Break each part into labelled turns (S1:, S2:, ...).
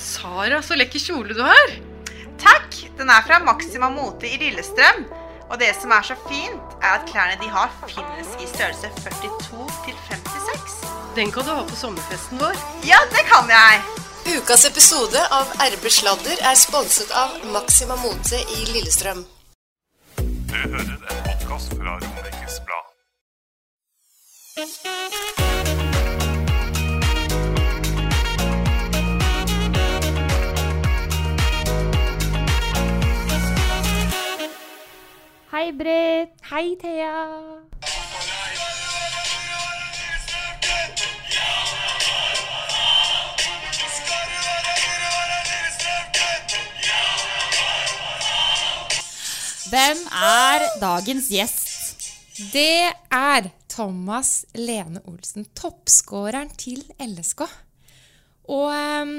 S1: Sara, så lekker kjole du har.
S2: Takk! Den er fra Maxima Mote i Lillestrøm. Og det som er så fint, er at klærne de har, finnes i størrelse 42 til 56.
S1: Den kan du ha på sommerfesten vår.
S2: Ja, det kan jeg!
S3: Ukas episode av RB Sladder er sponset av Maxima Mote i Lillestrøm.
S4: Du hører en podkast fra Romerikes Blad.
S5: Hei, Britt. Hei, Thea. Hvem er dagens gjest?
S3: Det er Thomas Lene Olsen, toppskåreren til LSK. Og ehm,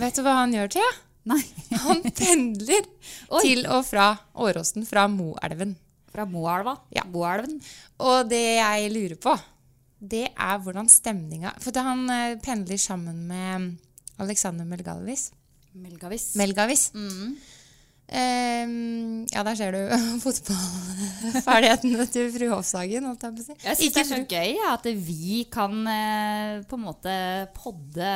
S3: vet du hva han gjør, Thea?
S5: Nei,
S3: Han pendler
S5: Oi.
S3: til og fra Åråsen fra Moelven.
S5: fra Moelva.
S3: Ja.
S5: Moelven.
S3: Og det jeg lurer på, det er hvordan stemninga For da han eh, pendler sammen med Alexander Melgalvis.
S5: Melgavis.
S3: Melgavis.
S5: Mm.
S3: Ehm, ja, der ser du fotballferdighetene til fru Hofshagen. holdt jeg på å si.
S5: jeg syns
S3: Ikke
S5: det er så
S3: fru-
S5: gøy ja, at vi kan eh, på en måte podde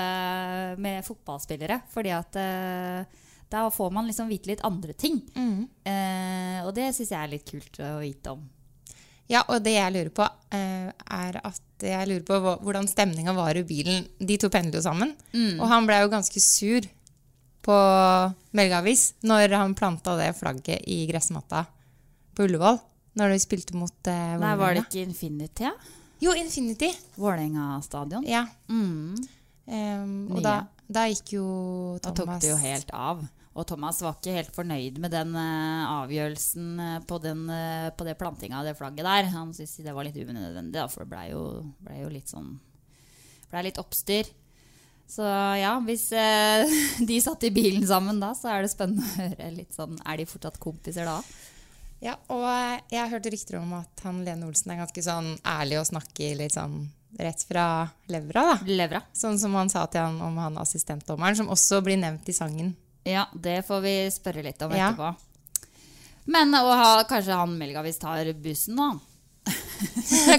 S5: med fotballspillere. Fordi at eh, da får man liksom vite litt andre ting.
S3: Mm.
S5: Eh, og det syns jeg er litt kult å vite om.
S3: Ja, og det jeg lurer på, eh, er at jeg lurer på hva- hvordan stemninga var i bilen. De to pendler jo sammen,
S5: Mm.
S3: og han ble jo ganske sur på Melgavis når han planta det flagget i gressmatta på Ullevål. Når de spilte mot eh,
S5: Nei, var det
S3: Vålerenga.
S5: ikke Infinity? ja?
S3: Jo, Infinity.
S5: Vålerenga stadion?
S3: Ja.
S5: Mm.
S3: Ehm,
S5: Nye.
S3: og da, da gikk jo
S5: Da
S3: Thomas
S5: tok det jo helt av. Og Thomas var ikke helt fornøyd med den eh, avgjørelsen eh, på, den, eh, på det plantinga av det flagget der. Han syntes det var litt unødvendig, da, for det blei jo, ble jo litt sånn Blei litt oppstyr. Så ja, hvis eh, de satt i bilen sammen da, så er det spennende å høre litt sånn Er de fortsatt kompiser da?
S3: Ja, og eh, jeg har hørt rykter om at han Lene Olsen er ganske sånn ærlig og snakker litt sånn rett fra levra, da.
S5: Levra.
S3: Sånn som han sa til han om han assistentdommeren, som også blir nevnt i sangen.
S5: Ja, det får vi spørre litt om
S3: Ja.
S5: etterpå. Men og ha, kanskje han Melgavis tar bussen, da.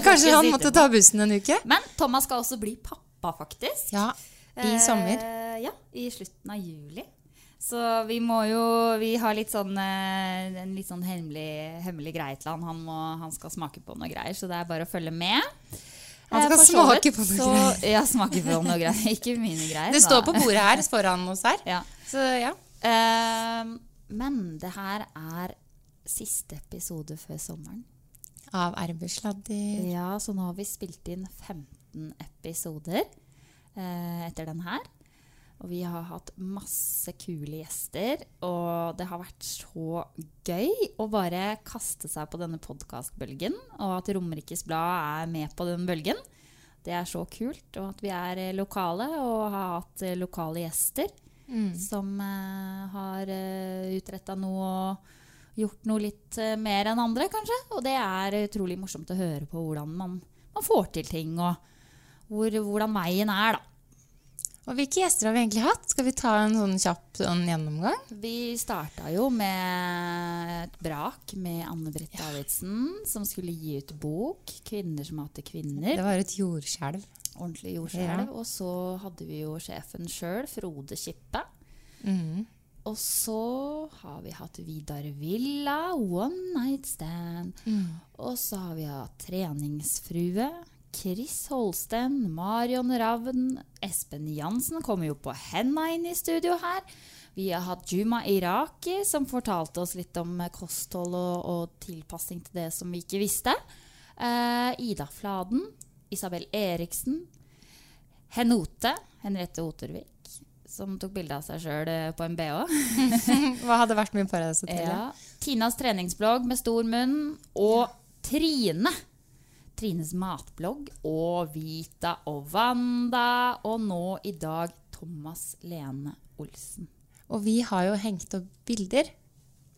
S3: Kanskje han
S5: sitte
S3: måtte
S5: på.
S3: ta bussen en uke?
S5: Men Thomas skal også bli pappa, faktisk.
S3: Ja, i
S5: Eh,
S3: sommer.
S5: Ja, i slutten av juli. Så vi må jo Vi har litt sånn eh, en litt sånn hemmelig, hemmelig greie til han. Han, må, han skal smake på noe greier, så det er bare å følge med.
S3: Han
S5: Eh,
S3: skal
S5: for så
S3: smake
S5: vidt,
S3: på noe
S5: så,
S3: greier.
S5: Ja, smake på noe greier. Ikke mine greier.
S3: Det
S5: da.
S3: står på bordet her foran oss her.
S5: Ja.
S3: Så ja.
S5: Eh, men det her er siste episode før sommeren.
S3: Av RB-sladder.
S5: Ja, så nå har vi spilt inn 15 episoder eh, etter den her. Og vi har hatt masse kule gjester, og det har vært så gøy å bare kaste seg på denne podkastbølgen, og at Romerikes Blad er med på den bølgen. Det er så kult, og at vi er eh, lokale og har hatt eh, lokale gjester som eh, har uh, utretta noe og gjort noe litt eh, mer enn andre, kanskje. Og det er utrolig morsomt å høre på hvordan man, man får til ting, og hvor, hvordan veien er, da.
S3: Og hvilke gjester har vi egentlig hatt? Skal vi ta en sånn kjapp sånn gjennomgang?
S5: Vi starta jo med et brak med Anne-Britt Davidsen, som skulle gi ut bok 'Kvinner som hater kvinner'.
S3: Det var et jordskjelv.
S5: Ordentlig jordskjelv. Og så hadde vi jo sjefen sjøl, Frode Kippe. Og så har vi hatt Vidar Villa, One Night Stand. Og så har vi hatt Treningsfrue, Chris Holsten, Marion Ravn. Espen Jansen kommer jo på henda inn i studio her. Vi har hatt Juma Iraki, som fortalte oss litt om kosthold og, og tilpassing til det som vi ikke visste. Eh, Ida Fladen, Isabel Eriksen, Henote, Henriette Otervik, som tok bilde av seg sjøl på en bh.
S3: Hva hadde vært min Paradise-hotellet?
S5: ja. Tinas treningsblogg med stor munn. Og Trine. Trines matblogg. Og Vita og Wanda. Og nå i dag Thomas Lene Olsen.
S3: Og vi har jo hengt opp bilder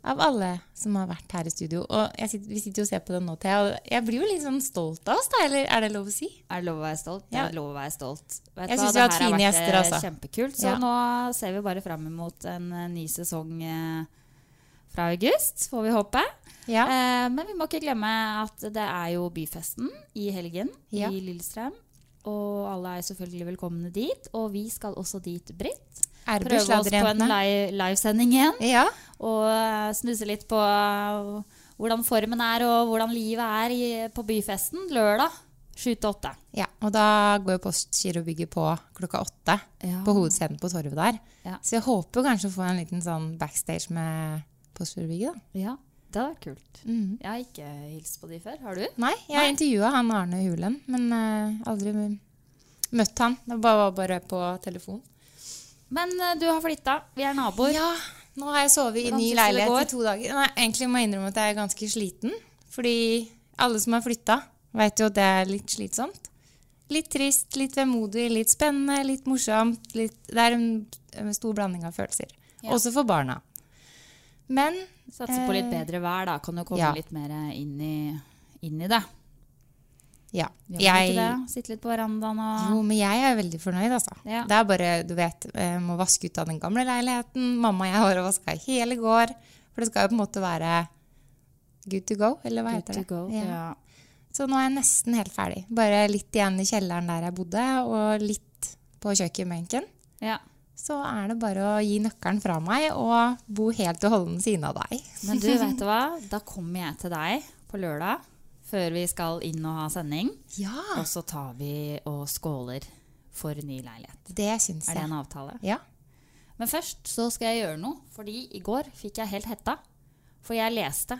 S3: av alle som har vært her i studio. Og jeg sitter, vi sitter jo og ser på det nå, Thea. Og jeg blir jo litt sånn stolt av oss, da. Eller er det lov å si?
S5: Er det lov å være stolt?
S3: Ja.
S5: Det er lov å være stolt. Vet
S3: Jeg
S5: du hva,
S3: synes
S5: det
S3: vi har
S5: her
S3: hatt fine
S5: vært,
S3: gjester,
S5: eh,
S3: altså.
S5: Kjempekult. Så
S3: Ja.
S5: nå ser vi bare fram mot en eh, ny sesong eh, fra august, får vi håpe.
S3: Ja.
S5: Eh, men vi må ikke glemme at det er jo byfesten i helgen
S3: Ja.
S5: i Lillestrøm. Og alle er selvfølgelig velkomne dit. Og vi skal også dit, Britt.
S3: Er det
S5: Prøve oss på en
S3: sladderjentene?
S5: li- livesending igjen.
S3: Ja.
S5: Og eh, snuse litt på eh, hvordan formen er, og hvordan livet er i, på byfesten lørdag 7 til 8.
S3: ja. Og da går jo Postgirobygget på klokka åtte
S5: Ja.
S3: på hovedscenen på torvet der.
S5: Ja.
S3: Så jeg håper jo kanskje å få en liten sånn backstage med Postgirobygget, da.
S5: Ja, det hadde vært kult. Jeg har ikke hilst på de før. Har du?
S3: Nei, jeg intervjua han Arne Hulen, men eh, aldri møtt han. Det var bare på telefon.
S5: Men eh, du har flytta. Vi er naboer.
S3: Ja, nå har jeg sovet i
S5: Hvordan
S3: ny
S5: synes du det går?
S3: leilighet i to dager. Nei, egentlig må jeg innrømme at jeg er ganske sliten. Fordi alle som har flytta, veit jo at det er litt slitsomt. Litt trist, litt vemodig, litt spennende, litt morsomt. Litt, det er en, en stor blanding av følelser. Også for barna. Men eh,
S5: Satser på litt bedre vær, da. Kan du komme
S3: ja.
S5: litt mer eh, inn i, inn i det?
S3: ja,
S5: Gjør du
S3: jeg
S5: ikke det? Sitte litt på verandaen og
S3: Jo, men jeg er veldig fornøyd, altså.
S5: Ja.
S3: Det er bare, du vet, jeg må vaske ut av den gamle leiligheten. Mamma og jeg har vaska i hele går. For det skal jo på en måte være good to go, eller hva heter det?
S5: Ja.
S3: Ja. Så nå er jeg nesten helt ferdig. Bare litt igjen i kjelleren der jeg bodde, og litt på kjøkkenbenken.
S5: Ja.
S3: Så er det bare å gi nøkkelen fra meg og bo helt og holden siden av deg.
S5: Men du, vet du hva? Da kommer jeg til deg på lørdag, før vi skal inn og ha sending.
S3: Ja,
S5: Og så tar vi og skåler for ny leilighet.
S3: det syns
S5: Er det
S3: jeg.
S5: en avtale?
S3: Ja.
S5: Men først så skal jeg gjøre noe, fordi i går fikk jeg helt hetta. For jeg leste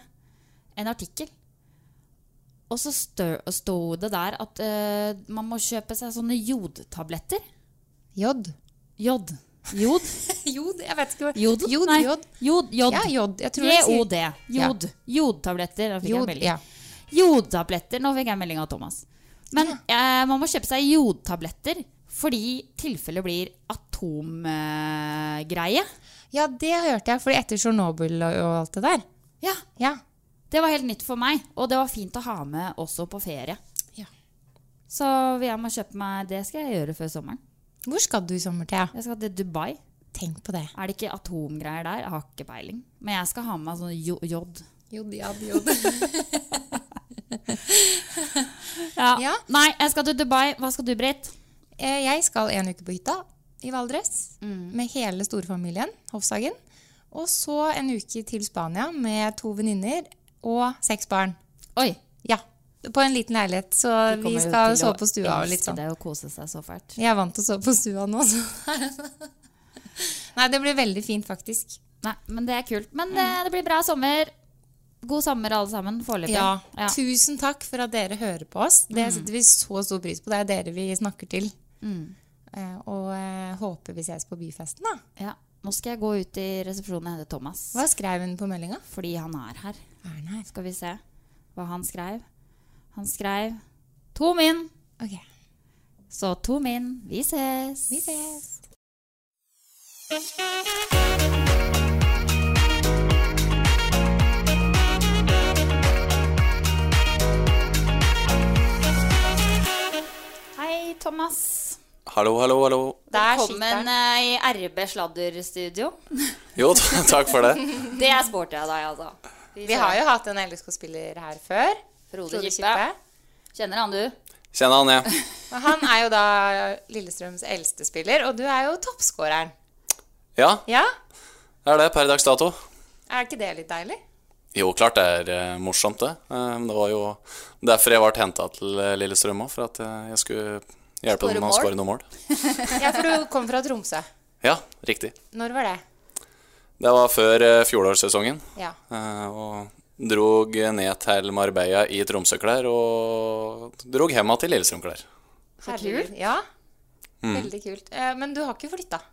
S5: en artikkel, og så stø- sto det der at eh, man må kjøpe seg sånne jodtabletter.
S3: Jod.
S5: Jod. Jod?
S3: Jod, jeg vet ikke hva
S5: Jod?
S3: Jod,
S5: Nei.
S3: jod.
S5: Jod. jod.
S3: Ja, jod. Jeg tror det sier-
S5: J-O-D. Jod. Jodtabletter. Da fikk jeg en
S3: Jod,
S5: melding.
S3: ja.
S5: Jodtabletter. Nå fikk jeg en melding av Thomas. Men eh, man må kjøpe seg jodtabletter fordi tilfellet blir atomgreie. Eh, greie.
S3: ja, det hørte jeg, fordi etter Tsjernobyl og, og alt det der.
S5: ja.
S3: Ja.
S5: Det var helt nytt for meg, og det var fint å ha med også på ferie.
S3: Ja.
S5: Så jeg må kjøpe meg Det skal jeg gjøre før sommeren.
S3: Hvor skal du i sommer, Thea?
S5: Jeg skal til Dubai.
S3: Tenk på det.
S5: Er det ikke atomgreier der? Jeg har ikke peiling. Men jeg skal ha med meg sånn jo- jod.
S3: Jod, jod, jod. Ja.
S5: Nei, jeg skal til Dubai. Hva skal du, Britt?
S3: Eh, Jeg skal en uke på hytta i Valdres
S5: Mm.
S3: med hele storfamilien, Hofshagen. Og så en uke til Spania med to venninner og seks barn.
S5: Oi.
S3: Ja, på en liten leilighet, så
S5: du
S3: vi
S5: kommer jo
S3: skal
S5: til å
S3: sove på stua og litt
S5: elske
S3: sånn.
S5: deg og kose seg så fælt.
S3: Jeg er vant til å sove på stua nå, så Nei, det blir veldig fint, faktisk.
S5: Nei, men det er kult. Men eh, det, det blir bra sommer. God sommer, alle sammen, foreløpig.
S3: Ja. Mm.
S5: Ja.
S3: Tusen takk for at dere hører på oss. Det setter vi så stor pris på. Det er dere vi snakker til. Eh, Og eh, håper vi ses på byfesten, da.
S5: Ja. Nå skal jeg gå ut i resepsjonen og hente Thomas,
S3: Hva skrev hun på meldinga?
S5: fordi han er her.
S3: Er den her?
S5: Skal vi se hva han skrev. Han skrev To min!
S3: Ok.
S5: Så to min, vi ses!
S3: Vi ses!
S5: Hei, Thomas.
S6: Hallo, hallo, hallo.
S3: Der sitter
S5: Velkommen
S3: den.
S5: eh, i RB Sladderstudio.
S6: Jo, t- takk for det.
S5: Det er sporty av deg, altså.
S3: Vi har jo hatt en LSK-spiller her før.
S5: Frode
S3: Frode
S5: Kippe.
S3: Kippe.
S5: Kjenner han, du?
S6: Kjenner han, jeg.
S3: Og han er jo da Lillestrøms eldste spiller, og du er jo toppskåreren.
S6: Ja,
S3: Ja?
S6: det er det per dags dato.
S3: Er ikke det litt deilig?
S6: Jo, klart det er eh, morsomt, det. Eh, men det var jo derfor jeg ble henta til eh, Lillestrøm òg, for at eh, jeg skulle hjelpe
S5: Skåre
S6: dem med å
S5: mål?
S6: skåre noen mål.
S3: Ja, for du kom fra Tromsø.
S6: Ja, riktig.
S3: Når var det?
S6: Det var før eh, fjorårssesongen.
S3: Ja.
S6: eh, og drog ned til Marbella i Tromsø-klær, og drog hjem igjen til Lillestrøm-klær.
S3: Så kult. Ja. Veldig kult. Eh, Men du har ikke flytta?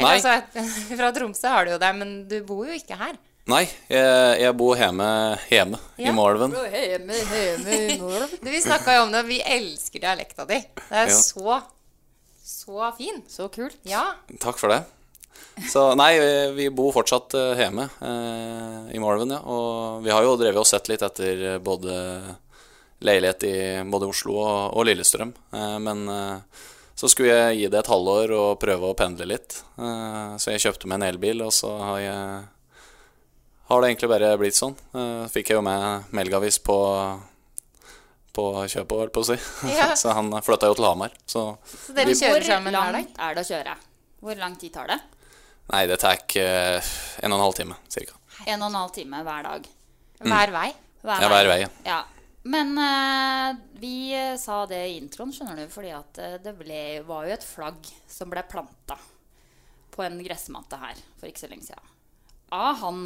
S1: Eller,
S3: Nei.
S1: altså, fra Tromsø har du jo det, men du bor jo ikke her.
S3: Nei, jeg, jeg bor hjemme, hjemme
S1: Ja.
S3: i Malven.
S1: Du, Vi snakka jo om det, og vi elsker dialekta di. Det er
S3: Ja.
S1: så, så fin.
S5: Så kult.
S1: Ja.
S3: Takk for det. Så nei, vi- vi bor fortsatt eh, hjemme eh, i Malven, ja. Og vi har jo drevet og sett litt etter eh, både leilighet i både Oslo og, og Lillestrøm. Eh, men eh, så skulle jeg gi det et halvår og prøve å pendle litt. Eh, så jeg kjøpte meg en elbil, og så har jeg har det egentlig bare blitt sånn. Eh, fikk jeg jo med Melgavis på på kjøpet, holdt på å si.
S5: Ja.
S3: så han flytta jo til Hamar. Så,
S5: Så
S3: vi-
S5: dere kjører sammen
S1: hver
S5: hver dag? Hvor langt er det å kjøre? Hvor lang tid tar det?
S3: Nei, det tar eh, en og en halv time, cirka.
S5: En og en halv time hver dag.
S1: Hver vei.
S3: Mm. Ja, hver vei, ja.
S5: Ja. Men eh, vi eh, sa det i introen, skjønner du, fordi at eh, det ble, var jo et flagg som ble planta på en gressmatte her for ikke så lenge siden. Av han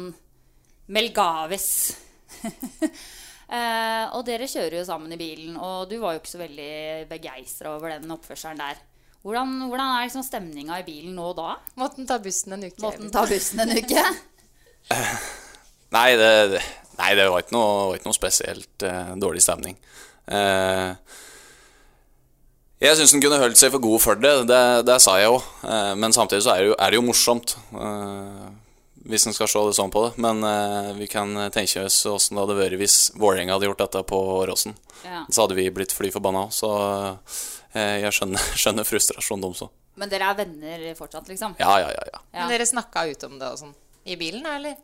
S5: Melgavis. Eh, og dere kjører jo sammen i bilen, og du var jo ikke så veldig begeistra over den oppførselen der. Hvordan, hvordan er liksom stemninga i bilen nå da?
S1: Måtte den ta bussen en uke.
S5: Måtte den ta bussen en uke?
S3: Nei, det, det- nei, det var ikke noe, var ikke noe spesielt eh, dårlig stemning. Eh, jeg syns den kunne holdt seg for god for det, det, det sa jeg òg. Eh, men samtidig så er det jo, er det jo morsomt, eh, hvis en skal se det sånn på det. Men eh, vi kan tenke oss åssen det hadde vært hvis Vålerenga hadde gjort dette på Åråsen.
S5: Ja.
S3: Så hadde vi blitt fly forbanna òg, så eh, jeg skjønner, skjønner frustrasjonen deres òg.
S5: Men dere er venner fortsatt, liksom?
S3: Ja, ja, ja. ja.
S1: Men dere snakka ut om det og sånn. I bilen, da, eller?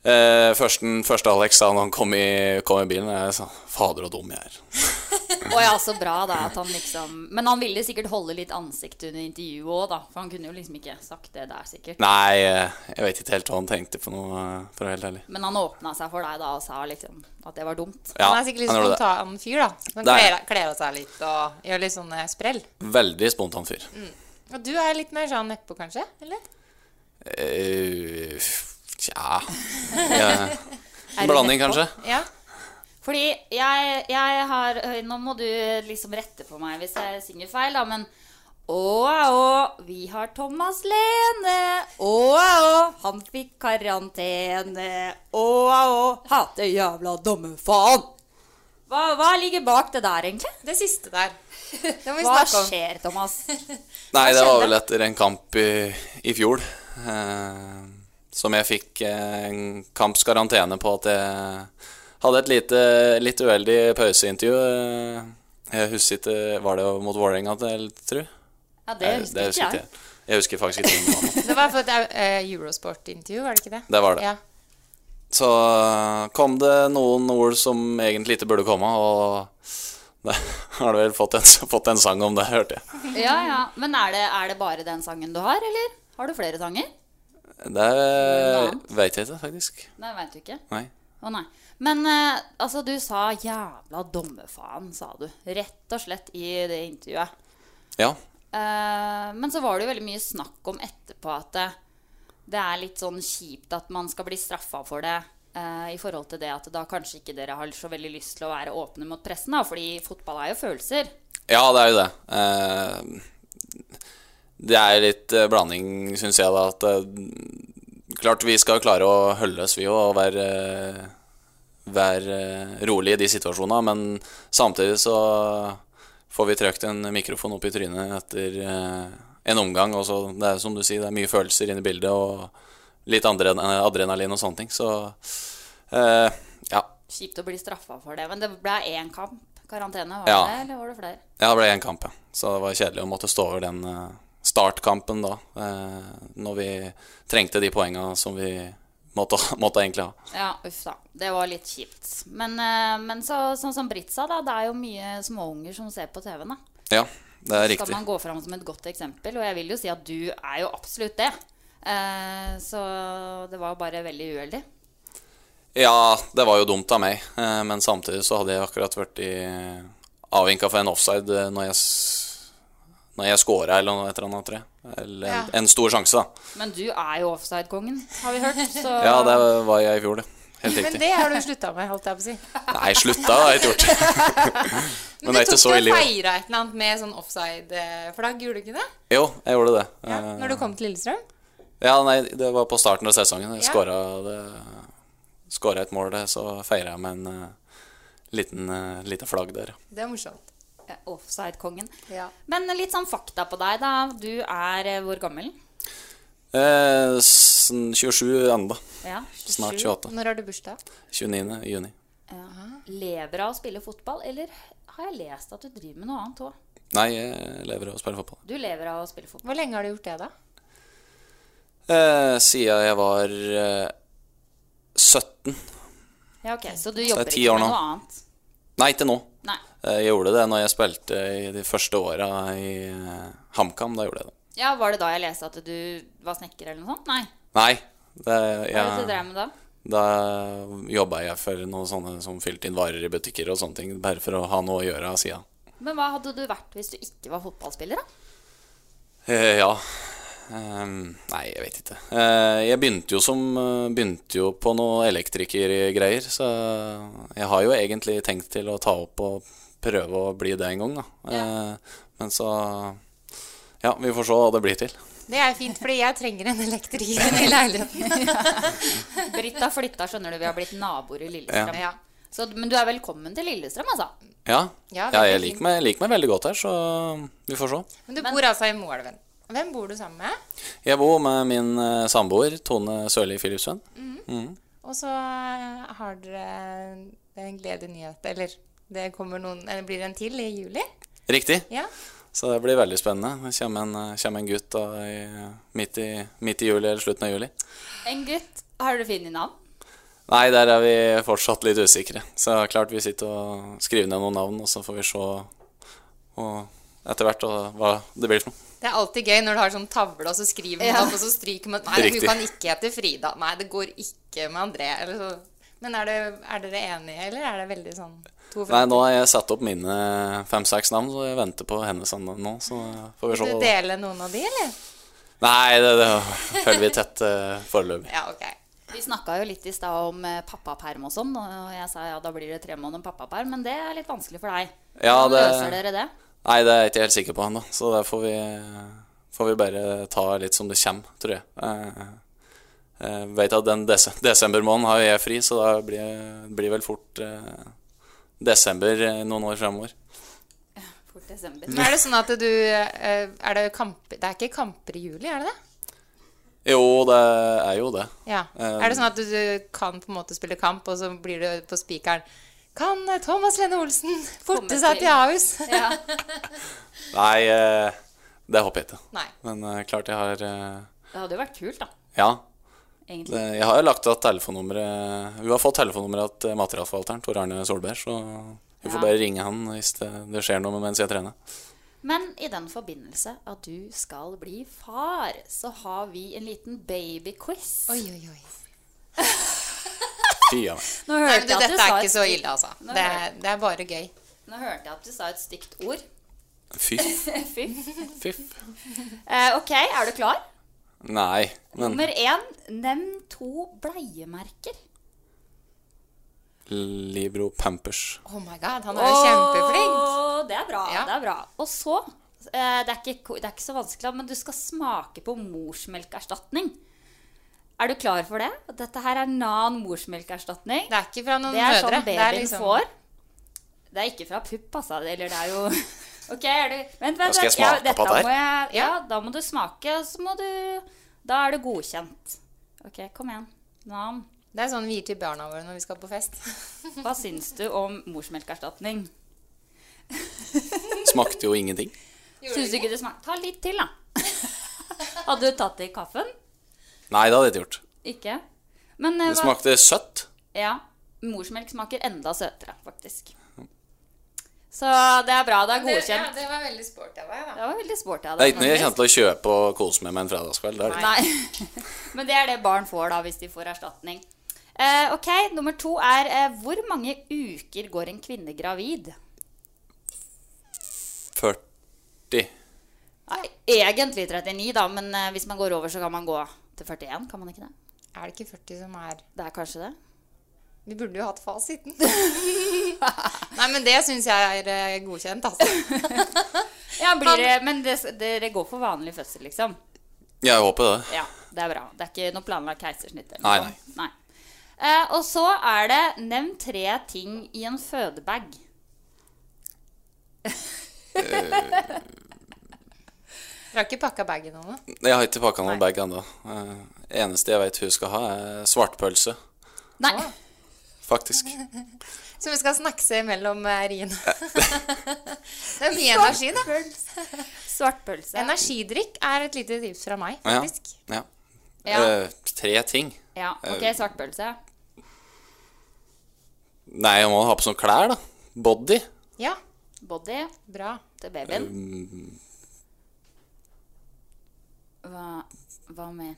S3: Eh, førsten, første Alex sa når han kom i, kom i bilen, jeg sa 'fader og dum jeg er'.
S5: Og ja, så bra da at han liksom Men han ville sikkert holde litt ansikt under intervjuet òg, da. For han kunne jo liksom ikke sagt det der, sikkert.
S3: Nei, eh, jeg vet ikke helt hva han tenkte på noe, eh, for å være helt ærlig.
S5: Men han åpna seg for deg da og sa liksom at det var dumt.
S3: Ja,
S1: han er sikkert litt
S3: han gjorde det.
S1: spontan fyr, da. Han
S3: Det er
S1: kler, kler av seg litt og gjør litt sånne sprell.
S3: Veldig spontan fyr.
S1: Mm. Og du er litt mer sånn nedpå, kanskje? Eller?
S3: Eh, Tja ja. En blanding, kanskje.
S1: Ja.
S5: Fordi jeg, jeg har øh, Nå må du liksom rette på meg hvis jeg synger feil, da, men Å, å, vi har Thomas Lene. Å, å, han fikk karantene. Å, å, hate jævla dumme faen. Hva, hva ligger bak det der, egentlig?
S1: Det siste der. vi
S5: hva
S1: snakke om.
S5: skjer, Thomas?
S3: Nei,
S5: Hva
S3: det var
S5: skjedde?
S3: vel etter en kamp i, i fjor eh, som jeg fikk eh, en kampskarantene på at jeg hadde et lite, litt uheldig pauseintervju. eh, Jeg husker ikke Var det mot Vålerenga, tror jeg?
S5: Ja,
S3: Eh, husker ikke jeg. Jeg husker faktisk ikke. hvem det var.
S1: Det var for et eh, Eurosport-intervju, var det ikke det?
S3: Det var det.
S1: Ja.
S3: Så eh, kom det noen ord som egentlig ikke burde komme, og det har du vel fått en, fått en sang om det, hørte jeg.
S5: Ja, ja. Men er det, er det bare den sangen du har, eller har du flere sanger?
S3: Det
S5: Noe
S3: veit jeg ikke, faktisk.
S5: Nei, veit du ikke.
S3: Nei.
S5: Å nei. Men eh, altså, du sa 'jævla dommefaen', sa du. Rett og slett i det intervjuet.
S3: Ja.
S5: Eh, men så var det jo veldig mye snakk om etterpå at det, det er litt sånn kjipt at man skal bli straffa for det. eh, I forhold til det at da kanskje ikke dere har så veldig lyst til å være åpne mot pressen, da, fordi fotball er jo følelser.
S3: Ja, det er jo det. Eh, Det er litt eh, blanding, syns jeg, da. At eh, klart vi skal klare å holde oss, vi òg, og være, være eh, rolig i de situasjonene. Men samtidig så får vi trøkt en mikrofon opp i trynet etter eh, en omgang. Og så, det er som du sier, det er mye følelser inne i bildet, og litt andre, adrenalin og sånne ting. Så eh, ja.
S5: Kjipt å bli straffa for det. Men det ble én kamp karantene, var
S3: Ja.
S5: det eller var det flere?
S3: Ja, det ble én kamp, ja. Så det var kjedelig å måtte stå over den eh, startkampen da. eh, Når vi trengte de poenga som vi måtte, måtte egentlig ha.
S5: Ja, uff da. Det var litt kjipt. Men, eh, men så, sånn som Britt sa, da, det er jo mye småunger som ser på TV-en. da.
S3: Ja, det er
S5: Så Skal
S3: riktig.
S5: man gå fram som et godt eksempel? Og jeg vil jo si at du er jo absolutt det. Eh, så det var bare veldig uheldig.
S3: Ja, det var jo dumt av meg, eh, men samtidig så hadde jeg akkurat vært i avvinka for en offside eh, når jeg, s- når jeg scora eller noe et eller annet, tror jeg. Eller en,
S5: Ja.
S3: en stor sjanse, da.
S5: Men du er jo offside-kongen, har vi hørt. Så
S3: Ja, det var jeg i fjor, det. Helt
S1: Men
S3: riktig.
S1: det har du slutta med, holdt jeg på å si.
S3: Nei, slutta har jeg ikke gjort. Men det er ikke så
S1: Du tok
S3: ille.
S1: jo og feira et eller annet med sånn offside-flagg, gjorde du ikke det?
S3: Jo, jeg gjorde det. Ja,
S1: Når du kom til Lillestrøm?
S3: ja, nei, det var på starten av sesongen. Jeg
S1: Ja.
S3: skåra det- skåra et mål, det, så feira jeg med en eh, liten, eh, lite flagg der.
S1: Det er morsomt.
S5: Offside-kongen. Men litt sånn fakta på deg, da. Du er eh, hvor gammel?
S3: Eh, s- 27 enda.
S5: Ja,
S3: Snart 28.
S5: Når har du bursdag?
S3: 29. juni.
S5: Lever av å spille fotball, eller har jeg lest at du driver med noe annet òg?
S3: Nei, jeg lever av å spille fotball.
S5: Du lever av å spille fotball.
S1: Hvor lenge har du gjort det, da?
S3: Eh, siden jeg var eh, 17.
S5: Ja, ok, Så du
S3: Så
S5: jobber
S3: det er ti
S5: ikke
S3: år
S5: med
S3: nå.
S5: noe annet?
S3: Nei, ikke nå.
S5: Nei.
S3: Eh, Jeg gjorde det når jeg spilte i de første åra i eh, HamKam. Da gjorde jeg det.
S5: Ja, Var det da jeg leste at du var snekker eller noe sånt? Nei.
S3: Nei. Det,
S5: Hva er det du
S3: jeg,
S5: drev med da?
S3: da jobba jeg for noen sånne som fylte inn varer i butikker og sånne ting. Bare for å ha noe å gjøre av sida.
S5: Men hva hadde du vært hvis du ikke var fotballspiller, da?
S3: Eh, ja. Ehm, nei, jeg vet ikke. Eh, jeg begynte jo som eh, Begynte jo på noe elektrikergreier, så jeg har jo egentlig tenkt til å ta opp og prøve å bli det en gang, da. Eh, men så Ja, vi får se hva det blir til.
S1: Det er fint, fordi jeg trenger en elektriker i leiligheten.
S5: Britt har flytta, skjønner du. Vi har blitt naboer i Lillestrøm.
S3: Ja.
S5: Så, men du er velkommen til Lillestrøm, altså.
S3: Ja,
S1: Ja,
S3: ja,
S1: veldig
S3: jeg liker meg, liker meg veldig godt her, så vi får se.
S1: Men du bor altså i Moelven. Hvem bor du sammen med?
S3: Jeg bor med min eh, samboer Tone Sørli Philipsvenn. Mhm.
S1: Og så eh, har dere en gledelig nyhet, eller det kommer noen, eller blir det en til i juli?
S3: Riktig.
S1: Ja.
S3: Så det blir veldig spennende. Det kommer en, eh, kommer en gutt da, i, midt, i, midt i juli eller slutten av juli.
S5: En gutt. Har du funnet navn?
S3: Nei, der er vi fortsatt litt usikre. Så klart vi sitter og skriver ned noen navn, og så får vi se og etter hvert og, hva det blir for noe.
S1: Det er alltid gøy når du har sånn tavle, og så skriver man
S5: Ja.
S1: opp, og så stryker man Nei,
S3: Riktig.
S1: hun kan ikke hete Frida. Nei, det går ikke med André. Eller så. Men er, det, er dere enige, eller er det veldig sånn to
S3: Nei, nå har jeg satt opp mine fem-seks navn, så jeg venter på hennes sånn nå. Så får vi
S1: Vil
S3: se.
S1: du dele noen av de, eller?
S3: Nei, det, det følger vi tett eh, foreløpig.
S1: Ja, ok.
S5: Vi snakka jo litt i stad om eh, pappaperm og sånn, og jeg sa ja, da blir det tre måneder pappaperm, men det er litt vanskelig for deg.
S3: Ja,
S5: Hvordan
S3: det-
S5: Løser dere det?
S3: Nei, det er jeg ikke helt sikker på ennå, så det får vi, får vi bare ta litt som det kommer, tror jeg. Eh, eh, vet at den des desembermåneden har jo jeg fri, så da blir, jeg- blir vel fort eh, desember eh, noen år fremover.
S5: Fort desember.
S1: Men er det sånn at du eh, Er det kamper Det er ikke kamper i juli, er det det?
S3: Jo, det er jo det.
S1: Ja.
S3: Eh,
S1: er det sånn at du, du kan på en måte spille kamp, og så blir du på spikeren Kan eh, Thomas Lene Olsen forte
S5: Komme
S1: seg
S5: til-
S1: til Ahus?
S5: Ja.
S3: Nei, eh, det håper jeg ikke.
S5: Nei.
S3: Men eh, klart jeg har eh,
S5: Det hadde jo vært kult, da.
S3: Ja.
S5: Egentlig.
S3: Det, jeg har jo lagt av telefonnummeret Hun har fått telefonnummeret til materialforvalteren, Tor Arne Solberg, så hun får
S5: Ja.
S3: bare ringe han hvis det, det skjer noe mens jeg trener.
S5: Men i den forbindelse at du skal bli far, så har vi en liten babyquiz.
S1: Oi, oi, oi.
S3: Fy a meg.
S5: Nå
S1: Nei,
S5: hørte
S1: men du,
S5: jeg at du
S1: dette er
S5: sa et
S1: ikke så
S5: stygt-
S1: ille, altså.
S5: Nå
S1: Det,
S5: hørte-
S1: er- det er bare gøy.
S5: Nå hørte jeg at du sa et stygt ord.
S3: Fy.
S5: Fyff.
S3: Fyff.
S5: Eh, ok, er du klar?
S3: Nei, men
S5: Nummer én, nevn to bleiemerker.
S3: Libro Pampers.
S1: Oh my god, han er jo kjempeflink.
S5: Åh, Det er bra.
S1: Ja.
S5: det er bra. Og så eh, det, er ikke, ko- det er ikke så vanskelig, men du skal smake på morsmelkerstatning. Er du klar for det? Dette her er nan morsmelkerstatning.
S1: Det er ikke fra noen
S5: Det er
S1: mødre.
S5: sånn babyen
S1: liksom-
S5: får. Det er ikke fra pupp, altså. Eller det er jo Ok, er du Vent, vent.
S3: Da skal
S5: vent,
S3: jeg smake
S5: dette
S3: på det her.
S5: må jeg- Ja, da må du smake, og så må du Da er det godkjent. Ok, kom igjen. Nam.
S1: Det er sånn vi gir til barna våre når vi skal på fest.
S5: Hva syns du om morsmelkerstatning?
S3: Smakte jo ingenting.
S5: Syns du ikke det smakte Ta litt til, da. Hadde du tatt det i kaffen?
S3: Nei, det hadde jeg ikke gjort.
S5: Ikke? Men eh,
S3: Det
S5: hva-
S3: smakte søtt.
S5: Ja. Morsmelk smaker enda søtere, faktisk. Så det er bra. Det er godkjent.
S1: det var veldig sporty av deg,
S5: Det var veldig sporty av
S3: Det er ikke noe jeg
S5: faktisk.
S3: kommer til å kjøpe og kose meg med en fredagskveld. Det er det.
S5: Nei. Men det er det barn får da, hvis de får erstatning. Eh, ok, Nummer to er eh, hvor mange uker går en kvinne gravid?
S3: 40.
S5: Nei, egentlig 39, da, men eh, hvis man går over, så kan man gå til 41. Kan man ikke det?
S1: Er det ikke 40 som er
S5: Det er kanskje det?
S1: Vi burde jo hatt fasiten. Nei, men det syns jeg er eh, godkjent, altså.
S5: Ja, blir det, men det, dere går for vanlig fødsel, liksom?
S3: Jeg håper det.
S5: Ja, det er bra. Det er ikke noe planlagt keisersnitt? eller
S3: Nei,
S5: noe. nei. Eh, og så er det nevn tre ting i en fødebag.
S1: Dere har ikke pakka bagen ennå?
S3: Jeg har ikke pakka noen bag ennå. Eh, Eneste jeg vet hun skal ha, er svartpølse,
S5: Nei.
S3: faktisk.
S1: Så vi skal snakkse mellom eh, riene. det er mye energi, da.
S5: Svartpølse.
S1: Energidrikk er et lite tips fra meg,
S3: Ja.
S1: faktisk.
S3: ja.
S5: Ja.
S3: Eh, tre ting.
S5: Ja, ok,
S3: Eh,
S5: svartpølse.
S3: Nei, jeg må ha på sånne klær, da. Body.
S1: Ja.
S5: Body.
S1: Bra.
S5: Til babyen.
S3: Mm,
S5: Hva, hva mer?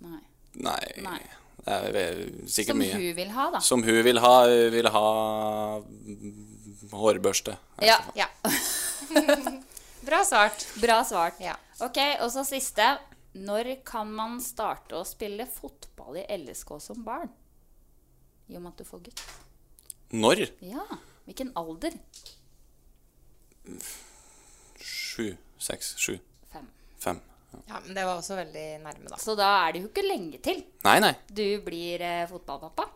S5: Nei.
S3: Nei,
S5: Nei.
S3: det er vel sikkert
S5: Som
S3: mye.
S5: hun vil ha, da.
S3: Som hun vil ha. Hun vil ha mm, hårbørste.
S5: Ja.
S1: Bra svart.
S5: Bra svart. Ok, og så siste. Når kan man starte å spille fotball i LSK som barn? I og med at du får gutt.
S3: Når?
S5: Ja. Hvilken alder?
S3: Sju, seks, sju.
S5: Fem.
S3: Fem.
S1: Ja, men det var også veldig nærme, da.
S5: Så da er det jo ikke lenge til
S3: Nei, nei.
S5: du blir eh, fotballpappa.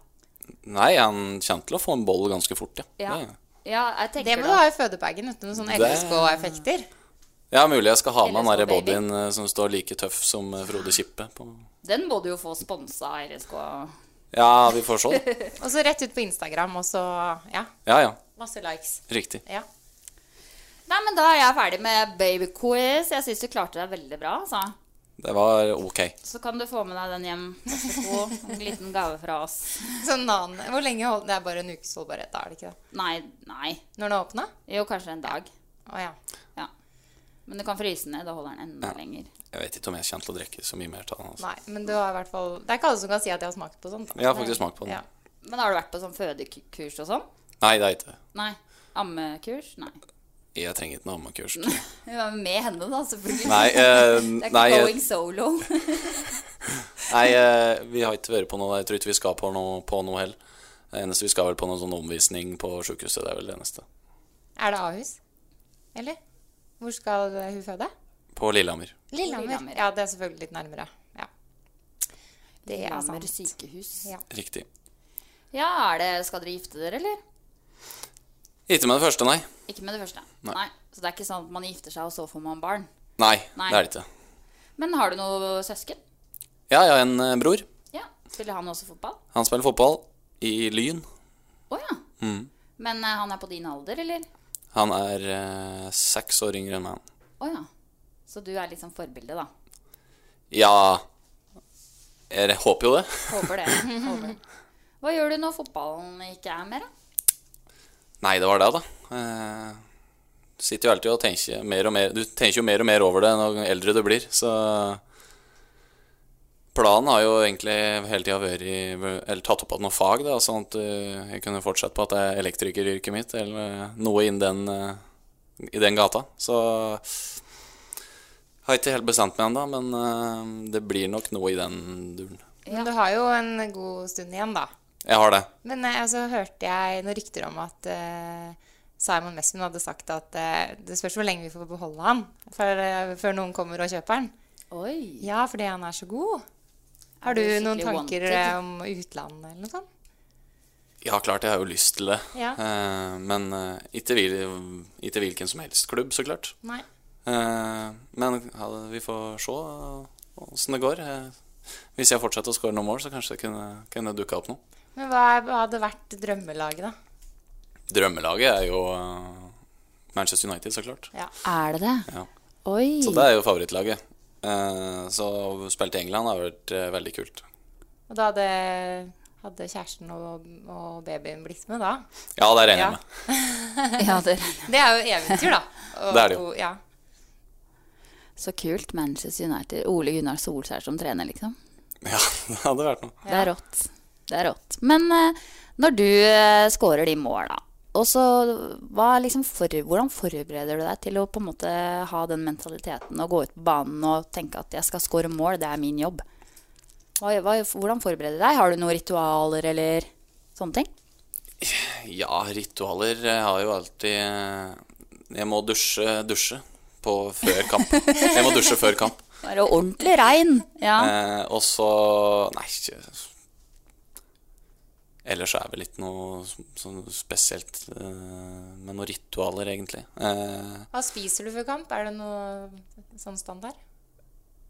S3: Nei, han kommer til å få en boll ganske fort, ja.
S5: Ja. Sånn
S3: Det-
S5: Ja, jeg tenker
S1: Det må du ha i fødebagen uten noen sånne
S3: Det-
S1: LSK-effekter.
S3: Ja, mulig jeg skal ha med
S5: Eller som
S3: den derre
S5: baby.
S3: bodyen eh, som står like tøff som eh, Frode Kippe. På.
S5: Den må du jo få sponsa av LSK.
S3: Ja, vi får se. da.
S1: Og så rett ut på Instagram, og så Ja.
S3: Ja, ja.
S1: Masse likes.
S3: Riktig.
S1: Ja.
S5: Nei, men da er jeg ferdig med babyquiz. Jeg syns du klarte deg veldig bra. Altså.
S3: Det var ok.
S5: Så kan du få med deg den hjem etterpå. En liten gave fra oss.
S1: Sånn annen Hvor lenge hold, Det er bare en ukes holdbarhet, da, er det ikke det?
S5: Nei, nei.
S1: Når den er åpna?
S5: Jo, kanskje en dag.
S1: Å ja.
S5: Ja. Men du kan fryse ned. Da holder den enda lenger.
S3: Jeg vet ikke om jeg kommer til å drikke så mye mer av den. Altså.
S1: Nei, men du har i hvert fall Det er ikke alle som kan si at de har smakt på sånt. da.
S3: Jeg har faktisk smakt på den.
S1: Ja.
S5: Men har du vært på sånn fødekurs og sånn?
S3: Nei, det er ikke det.
S5: Nei. Ammekurs? Nei.
S3: Jeg trenger ikke noe ammekurs.
S5: Vi var med henne, da, selvfølgelig.
S3: Nei, eh,
S5: det er ikke
S3: nei, eh,
S5: going solo.
S3: Nei, eh, vi har ikke vært på noe Jeg tror ikke vi skal på noe, på noe heller. Det eneste vi skal vel på noen sånn omvisning på sjukehuset. Det er vel det eneste.
S1: Er det Ahus? Eller? Hvor skal eh, hun føde?
S3: På Lillehammer.
S1: Lillehammer.
S5: Lillehammer.
S1: Ja, det er selvfølgelig litt nærmere. Ja. Det er
S5: Lillehammer
S1: sant.
S5: sykehus.
S1: Ja.
S3: Riktig.
S5: Ja, er det, skal dere gifte dere, eller?
S3: Ikke med det første, nei.
S5: Ikke med det første.
S3: Nei.
S5: Så det er ikke sånn at man gifter seg, og så får man barn.
S3: Nei,
S5: Nei.
S3: det er det ikke.
S5: Men har du noe søsken?
S3: Ja, jeg har en eh, bror.
S5: Ja. Spiller han også fotball?
S3: Han spiller fotball i Lyn.
S5: Å ja.
S3: Mm.
S5: Men eh, han er på din alder, eller?
S3: Han er eh, seks år yngre enn meg.
S5: Å ja. Så du er liksom forbilde, da.
S3: Ja Jeg håper jo det.
S5: Håper det. Håper. det. Hva gjør du når fotballen ikke er mer, da?
S3: Nei, det var det, da. Eh, sitter jo alltid og tenker mer og mer Du tenker jo mer og mer over det når eldre du blir, så Planen har jo egentlig hele tida vært i- Eller tatt opp igjen noe fag, da, sånn at eh, jeg kunne fortsette på at det er elektrikeryrket mitt, eller noe innen den eh, i den gata. Så har ikke helt bestemt meg ennå, men eh, det blir nok noe i den duren.
S1: Men du har jo en god stund igjen, da.
S3: Jeg har det.
S1: Men eh, så hørte jeg noen rykter om at eh, Simon Mesvin hadde sagt at eh, det spørs hvor lenge vi får beholde han før, eh, før noen kommer og kjøper han.
S5: Oi.
S1: Ja, fordi han er så god.
S5: Er
S1: Har du
S5: det
S1: noen
S5: skikkelig
S1: tanker
S5: wanted?
S1: eh, om utlandet eller noe sånt?
S3: Ja, klart jeg har jo lyst til det.
S1: Ja.
S3: Eh, men eh, ikke, hvil, ikke hvilken som helst klubb, så klart.
S1: Nei.
S3: Eh, men ja, det- vi får se åssen det går. Eh, hvis jeg fortsetter å skåre noen mål, så kanskje det kunne, kunne dukke opp noe.
S1: Men hva, hva hadde vært drømmelaget, da?
S3: Drømmelaget er jo eh, Manchester United, så klart.
S5: Er det det?
S3: Ja.
S5: Oi.
S3: Så
S1: Mm.
S3: det er jo favorittlaget. Eh, så å spille til England har vært eh, veldig kult.
S1: Og da hadde, hadde kjæresten og, og babyen blitt med, da?
S3: Ja, det er jeg enig
S1: Ja.
S3: med.
S5: ja, det
S1: Det er jo eventyr, da. Og-
S3: Det er det jo.
S1: og- Ja.
S5: Så kult. Manchester United. Ole Gunnar Solskjær som trener, liksom.
S3: Ja, det hadde vært noe.
S5: Det er rått. Det er rått. Men eh, når du eh, scorer de mål, da, og så, hva er liksom for, hvordan forbereder du deg til å på en måte ha den mentaliteten og gå ut på banen og tenke at jeg skal score mål, det er min jobb? Hva, hva, hvordan forbereder du deg? Har du noen ritualer eller sånne ting?
S3: Ja, ritualer Jeg har jo alltid Jeg må dusje, dusje på før kamp. Jeg må dusje før kamp.
S5: Være ordentlig rein. Ja.
S3: Eh, og så Nei. ikke- Ellers så er det vel ikke noe sånn spesielt eh, med noen ritualer, egentlig. Eh,
S1: Hva spiser du før kamp? Er det noe sånn standard?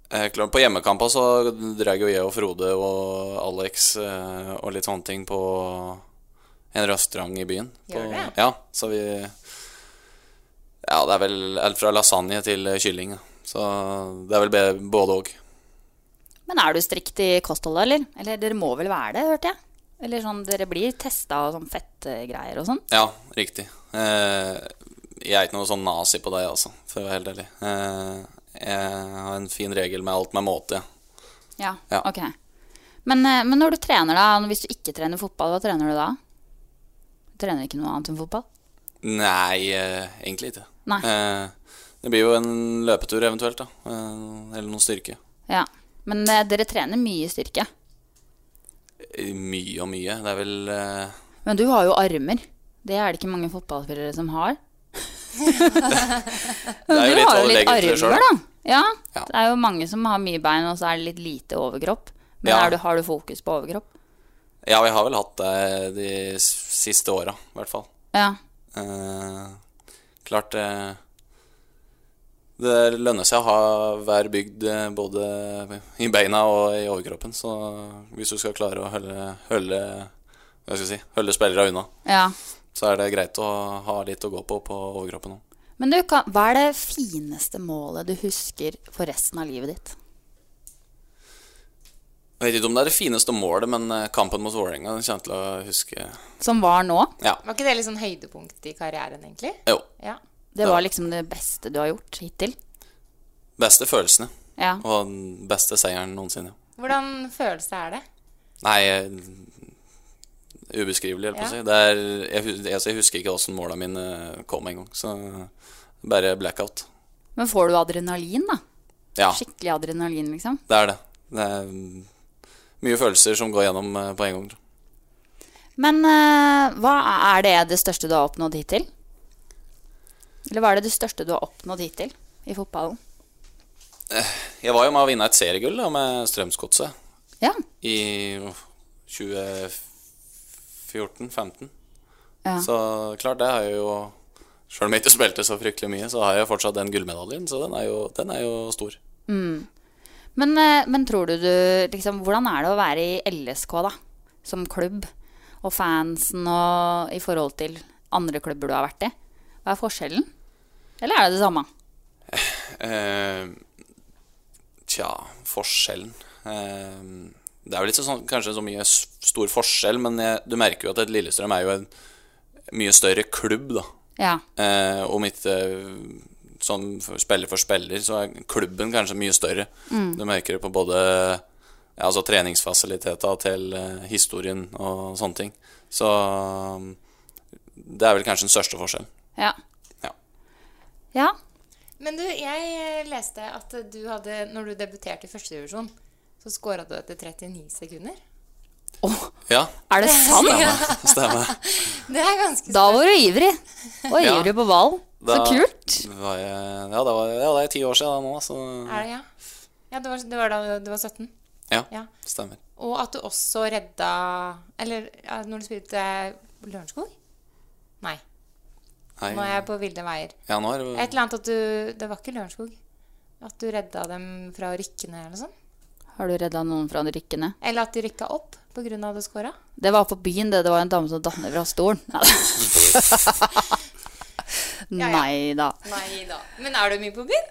S3: Eh, klart, på hjemmekamper så drar jo jeg og Frode og Alex eh, og litt sånne ting på en restaurant i byen. På,
S1: Gjør det?
S3: Ja, så vi Ja, det er vel alt fra lasagne til kylling. da. Så det er vel be- både òg.
S5: Men er du strikt i kostholdet, eller? Eller dere må vel være det, hørte jeg? Eller sånn, dere blir testa og sånn fettgreier og sånn?
S3: Ja, riktig. Eh, jeg er ikke noe sånn nazi på deg, altså, for å være helt ærlig. Eh, jeg har en fin regel med alt med måte.
S5: Ja,
S3: Ja.
S5: ok. Men, eh, men når du trener, da, hvis du ikke trener fotball, hva trener du da? Du trener ikke noe annet enn fotball?
S3: Nei, eh, egentlig ikke.
S5: Nei.
S3: Eh, det blir jo en løpetur eventuelt, da. Eh, eller noe styrke.
S5: Ja. Men eh, dere trener mye styrke.
S3: Eh, Mye og mye. Det er vel eh,
S5: Men du har jo armer. Det er det ikke mange fotballspillere som har.
S3: Det er jo
S5: du
S3: litt
S5: har
S3: hva
S5: jo
S3: du
S5: litt
S3: legger til
S5: armer,
S3: det selv,
S5: da.
S3: da.
S5: Ja. Det er jo mange som har mye bein, og så er det litt lite overkropp. Men
S3: Ja.
S5: er du, har du fokus på overkropp?
S3: Ja, vi har vel hatt det de s- siste åra, i hvert fall.
S5: Ja.
S3: Eh, klart eh, Det lønner seg å ha hver bygd eh, både i beina og i overkroppen. Så hvis du skal klare å holde, holde, hva skal jeg si, holde spillere unna,
S5: Ja.
S3: så er det greit å ha litt å gå på på overkroppen òg.
S5: Men du, kan, hva er det fineste målet du husker for resten av livet ditt?
S3: Jeg vet ikke om det er det fineste målet, men eh, kampen mot Vålerenga den kommer jeg til å huske.
S5: Som var nå?
S3: Ja.
S1: Var ikke det litt sånn høydepunkt i karrieren, egentlig?
S3: Jo.
S1: Ja.
S5: Det var liksom det beste du har gjort hittil?
S3: Beste følelsene.
S5: Ja.
S3: Og den beste seieren noensinne.
S1: Hvordan følelse er det?
S3: Nei eh, Ubeskrivelig, holdt på å si.
S1: Ja.
S3: Det er, jeg, hus- altså, jeg husker ikke åssen måla mine kom engang. Så bare blackout.
S5: Men får du adrenalin, da?
S3: Ja,
S5: Skikkelig adrenalin, liksom?
S3: det er det. Det er mm, mye følelser som går gjennom eh, på en gang. tror jeg.
S5: Men eh, hva er det det største du har oppnådd hittil? Eller hva er det det største du har oppnådd hittil i fotballen?
S3: Jeg var jo med å vinne et seriegull da, med Strømsgodset.
S5: Ja.
S3: I uff, 2014-15.
S5: Ja.
S3: Så klart, det har jeg jo Sjøl om jeg ikke spilte så fryktelig mye, så har jeg fortsatt den gullmedaljen. Så den er jo, den er jo stor.
S5: Mm. Men, eh, men tror du du liksom, Hvordan er det å være i LSK, da? Som klubb. Og fansen og i forhold til andre klubber du har vært i. Hva er forskjellen? Eller er det det samme?
S3: Eh, tja, forskjellen eh, Det er vel ikke sånn, kanskje så mye s- stor forskjell, men jeg, du merker jo at et Lillestrøm er jo en mye større klubb, da.
S5: Ja.
S3: Eh, om ikke sånn for- spiller for spiller, så er klubben kanskje mye større.
S5: Mm.
S3: Du merker det på både ja, altså treningsfasiliteter til eh, historien og sånne ting. Så um, det er vel kanskje den største forskjellen.
S5: Ja.
S3: Ja.
S5: Ja.
S1: Men du, jeg eh, leste at du hadde, når du debuterte i førstedivisjon, så skåra du etter 39 sekunder.
S3: Ja.
S5: Er det sant?
S3: Stemmer. Stemmer.
S1: Det er ganske
S5: Da var du ivrig. Og
S3: Ja.
S5: ivrig på ball. Så
S3: Da
S5: kult.
S3: Var jeg, ja, det var, ja, det er ti år siden da nå, så
S1: Er det, ja? Ja, det var, det var da du var 17.
S3: ja,
S1: Ja.
S3: stemmer.
S1: Og at du også redda Eller ja, når du spilte eh, Lørenskog? Nei,
S3: Nei,
S1: nå er jeg på ville veier.
S3: Ja, nå er
S1: Et
S3: det
S1: eller annet at du Det var ikke Lørenskog. At du redda dem fra å rykke ned, eller sånn.
S5: Har du redda noen fra å rykke ned?
S1: Eller at de rykka opp pga. at du scora.
S5: Det var på byen, det. Det var en dame som datt ned fra stolen. Nei da.
S1: Nei da. Men er du mye på byen?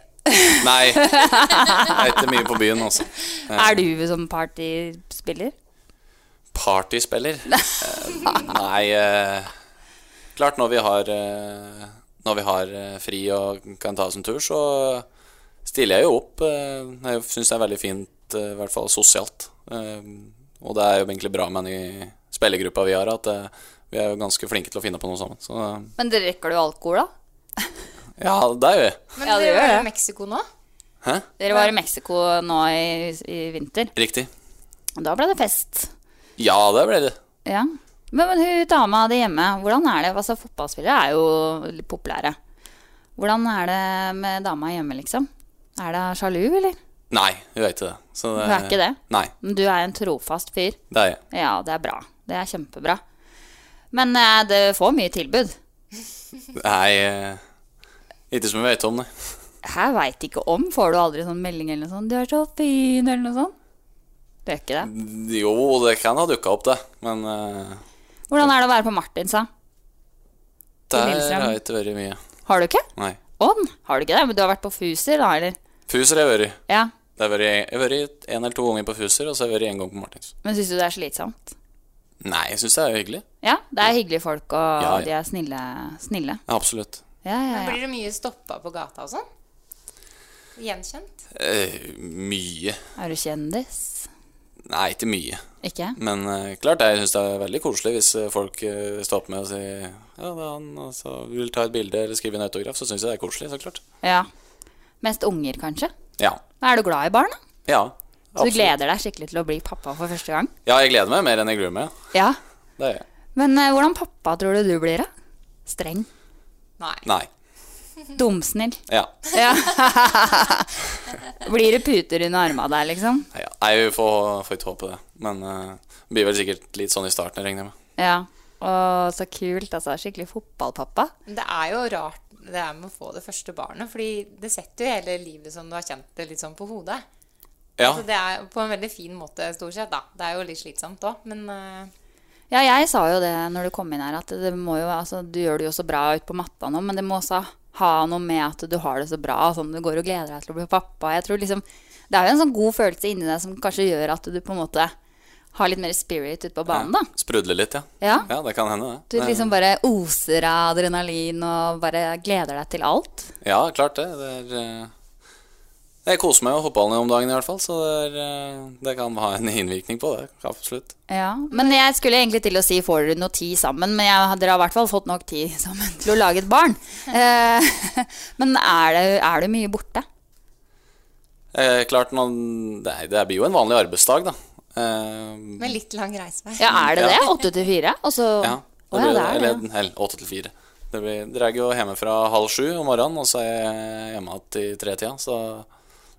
S3: Nei. Jeg er ikke mye på byen også. Eh,
S5: Er du som partyspiller?
S3: Partyspiller? Eh, Nei eh, Klart, når vi har eh, Når vi har eh, fri og kan ta oss en tur, så stiller jeg jo opp. eh, Jeg syns det er veldig fint, eh, i hvert fall sosialt. Eh, Og det er jo egentlig bra med den i spillergruppa vi har, at eh, vi er jo ganske flinke til å finne på noe sammen. Så eh,
S5: Men drikker du alkohol, da?
S3: ja, det er jo
S1: Men
S5: Ja,
S1: dere
S5: det gjør
S1: var
S5: det.
S1: i Mexico nå.
S3: Hæ?
S5: Dere var i Mexico nå i, i vinter.
S3: Riktig.
S5: Da ble det fest.
S3: Ja, det ble det.
S5: Ja. Men, men hun dama di hjemme, hvordan er det? Altså, fotballspillere er jo litt populære. Hvordan er det med dama hjemme, liksom? Er det sjalu, eller?
S3: Nei, hun er ikke det. Så
S5: Hun er ikke det?
S3: Nei,
S5: Men du er en trofast fyr.
S3: det er jeg.
S5: Ja, det er bra. Det er kjempebra. Men eh, det får mye tilbud.
S3: Nei, eh, ikke som jeg vet om, nei.
S5: Jeg veit ikke om. Får du aldri sånn melding eller noe sånt? 'Du er så fin', eller noe sånt? Du gjør ikke det?
S3: Jo, det kan ha dukka opp, det. Men eh,
S5: Hvordan er det å være på Martins, da?
S3: der
S5: Lillestrøm.
S3: har jeg ikke vært mye.
S5: Har du ikke?
S3: Nei.
S5: Ånd? Har du ikke det? Men du har vært på Fuser, da, eller?
S3: Fuser har jeg vært.
S5: Ja.
S3: Det har vært- Jeg har vært en eller to ganger på Fuser, og så har jeg vært en gang på Martins.
S5: Men syns du det er slitsomt?
S3: Nei, jeg syns det er jo hyggelig.
S5: Ja, det er hyggelige folk, og
S3: Ja, ja.
S5: de er snille. snille.
S3: Ja, Absolutt.
S5: Ja,
S1: Men
S5: ja, ja.
S1: blir det mye stoppa på gata og sånn? Gjenkjent?
S3: Eh, mye.
S5: Er du kjendis?
S3: Nei, ikke mye.
S5: Ikke?
S3: Men eh, klart, jeg syns det er veldig koselig hvis eh, folk eh, stopper med og sier ja, det er han, og så vil ta et bilde eller skrive en autograf, så syns jeg det er koselig, så klart.
S5: Ja. Mest unger, kanskje?
S3: Ja.
S5: Men Er du glad i barn, da?
S3: Ja,
S5: Så du
S3: absolutt.
S5: gleder deg skikkelig til å bli pappa for første gang?
S3: ja, jeg gleder meg mer enn jeg gruer meg.
S5: Ja.
S3: Det gjør jeg.
S5: Men eh, hvordan pappa tror du du blir, da? Streng?
S3: Nei.
S5: Dumsnill?
S3: Ja.
S5: Ja. blir det puter under arma der, liksom?
S3: Nei, ja. Nei, vi får, får ikke håpe det. Men eh, det blir vel sikkert litt sånn i starten, jeg regner jeg med.
S5: Ja. Å, så kult. Altså, skikkelig fotballpappa.
S1: Men Det er jo rart det er med å få det første barnet, fordi det setter jo hele livet som du har kjent det, litt sånn på hodet.
S3: Ja.
S1: Altså, det er på en veldig fin måte, stort sett, da. Det er jo litt slitsomt òg, men eh,
S5: Ja, jeg sa jo det når du kom inn her, at det må jo, altså, du gjør det jo så bra ute på matta nå, men det må også ha noe med at du har det så bra, sånn du går og gleder deg til å bli pappa. Jeg tror liksom, Det er jo en sånn god følelse inni deg som kanskje gjør at du på en måte har litt mer spirit ute på banen, da.
S3: Sprudle litt, ja.
S5: Ja.
S3: det kan hende, det.
S5: Du
S3: Men-
S5: liksom bare oser av adrenalin og bare gleder deg til alt.
S3: Ja, klart det. Det er eh, Jeg koser meg jo fotballen om dagen i hvert fall, så det, er, eh, det kan ha en innvirkning på det. Absolutt.
S5: Ja, Men jeg skulle egentlig til å si får dere noe tid sammen, men jeg, dere har i hvert fall fått nok tid sammen til å lage et barn. Eh, men er det, er det mye borte?
S3: Eh, klart man Nei, det blir jo en vanlig arbeidsdag, da. Eh,
S1: med litt lang reisevei.
S5: Ja, er det det?
S3: Ja.
S5: Åtte til fire? Og så
S3: ja,
S5: Å ja,
S3: blir-
S5: det er det.
S3: eller, eller åtte til fire. Det blir, drar jo hjemmefra halv sju om morgenen, og så er jeg hjemme igjen til tretida. Så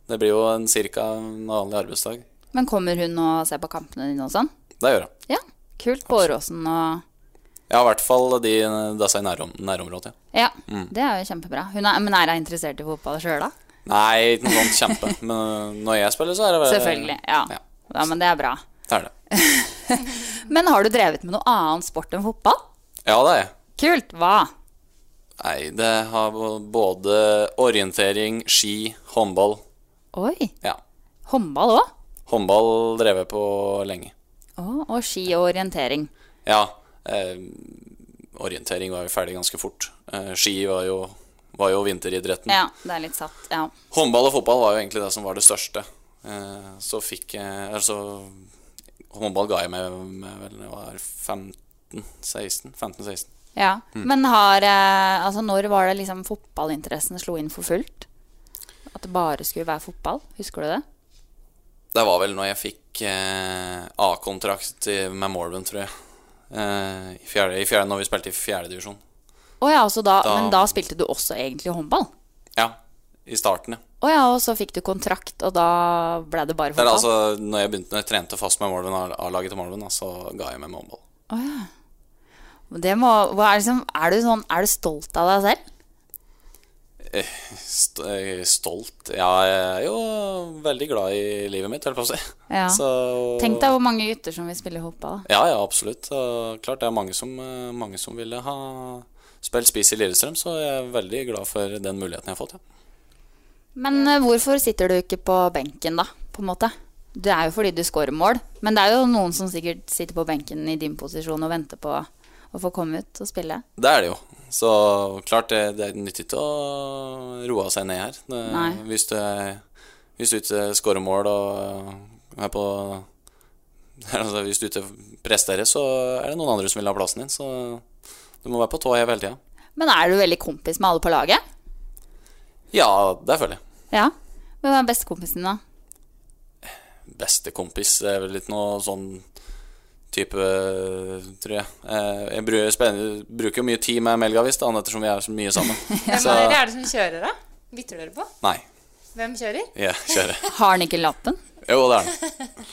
S3: det blir jo en cirka en vanlig arbeidsdag.
S5: Men kommer hun og ser på kampene dine og sånn?
S3: Det gjør jeg.
S5: Ja, kult. På Åråsen og
S3: Ja, i hvert fall de disse i nærom, nærområdet.
S5: Ja,
S3: Ja. Mm.
S5: det er jo kjempebra. Hun er, men er hun interessert i fotball sjøl, da?
S3: Nei, ikke noe sånt kjempe, men når jeg spiller, så er det vel-
S5: Selvfølgelig. Ja. Eh, ja. Men det er bra.
S3: Det er det.
S5: Men har du drevet med noe annen sport enn fotball?
S3: Ja, det er jeg.
S5: Kult. Hva?
S3: Nei, det har bo- både orientering, ski, håndball.
S5: Oi.
S3: Ja.
S5: Håndball òg?
S3: Håndball drev jeg på lenge.
S5: Og ski og orientering.
S3: Ja. Eh, orientering var jo ferdig ganske fort. Eh, ski var jo, var jo vinteridretten.
S5: Ja, det er litt satt. Ja.
S3: Håndball og fotball var jo egentlig det som var det største. Eh, så fikk jeg Altså, håndball ga jeg meg med vel jeg var 15-16. 15-16.
S5: ja.
S3: Mm.
S5: Men har eh, Altså, når var det liksom fotballinteressen slo inn for fullt? At det bare skulle være fotball? Husker du det?
S3: Det var vel når jeg fikk eh, A-kontrakt i- med Morven, tror jeg. Eh, i fjerde, i fjerde, når vi spilte i fjerdedivisjon.
S5: Å ja, så da,
S3: Da-
S5: Men da spilte du også egentlig håndball?
S3: Ja, i starten, ja.
S5: Å ja, og så fikk du kontrakt, og da ble det bare
S3: Det er
S5: fotball?
S3: altså når jeg begynte når jeg trente fast med Morven, A-laget til Morven, da, så ga jeg meg med håndball.
S5: Å ja.
S3: altså-
S5: Men Det må, hva er, liksom, er, du sånn, er du stolt av deg selv?
S3: Eh, st eh, stolt Ja, jeg er jo veldig glad i livet mitt, holdt jeg på å si.
S5: Ja.
S3: Så-
S5: Tenk deg hvor mange gutter som vil spille fotball. da.
S3: Ja, ja, absolutt. Og klart det er mange som, eh, mange som ville ha spilt spiss i Lillestrøm, så jeg er veldig glad for den muligheten jeg har fått, ja.
S5: Men eh, hvorfor sitter du ikke på benken, da? På en måte? Det er jo fordi du scorer mål, men det er jo noen som sikkert sitter på benken i din posisjon og venter på å få komme ut og spille.
S3: Det er det jo. Så klart det, det er nyttig til å roe seg ned her. Det,
S5: Nei.
S3: hvis, du, er- hvis du ikke scorer mål og eh, er på altså, Hvis du ikke presterer, så er det noen andre som vil ha plassen din. Så du må være på tå hev hele tida.
S5: Men er du veldig kompis med alle på laget?
S3: Ja, det føler jeg.
S5: Ja. Hvem er bestekompisen din, da?
S3: bestekompis. Det er vel litt noe sånn type, tror jeg. Eh, Jeg bru- spen- bruker jo mye tid med Melgavis, da, ettersom vi er så mye sammen.
S1: Hvem
S3: Så
S1: er det, er det som kjører, da? Bytter dere på?
S3: nei.
S1: Hvem kjører?
S3: Jeg kjører.
S5: Har han ikke lappen?
S3: Jo, det er han.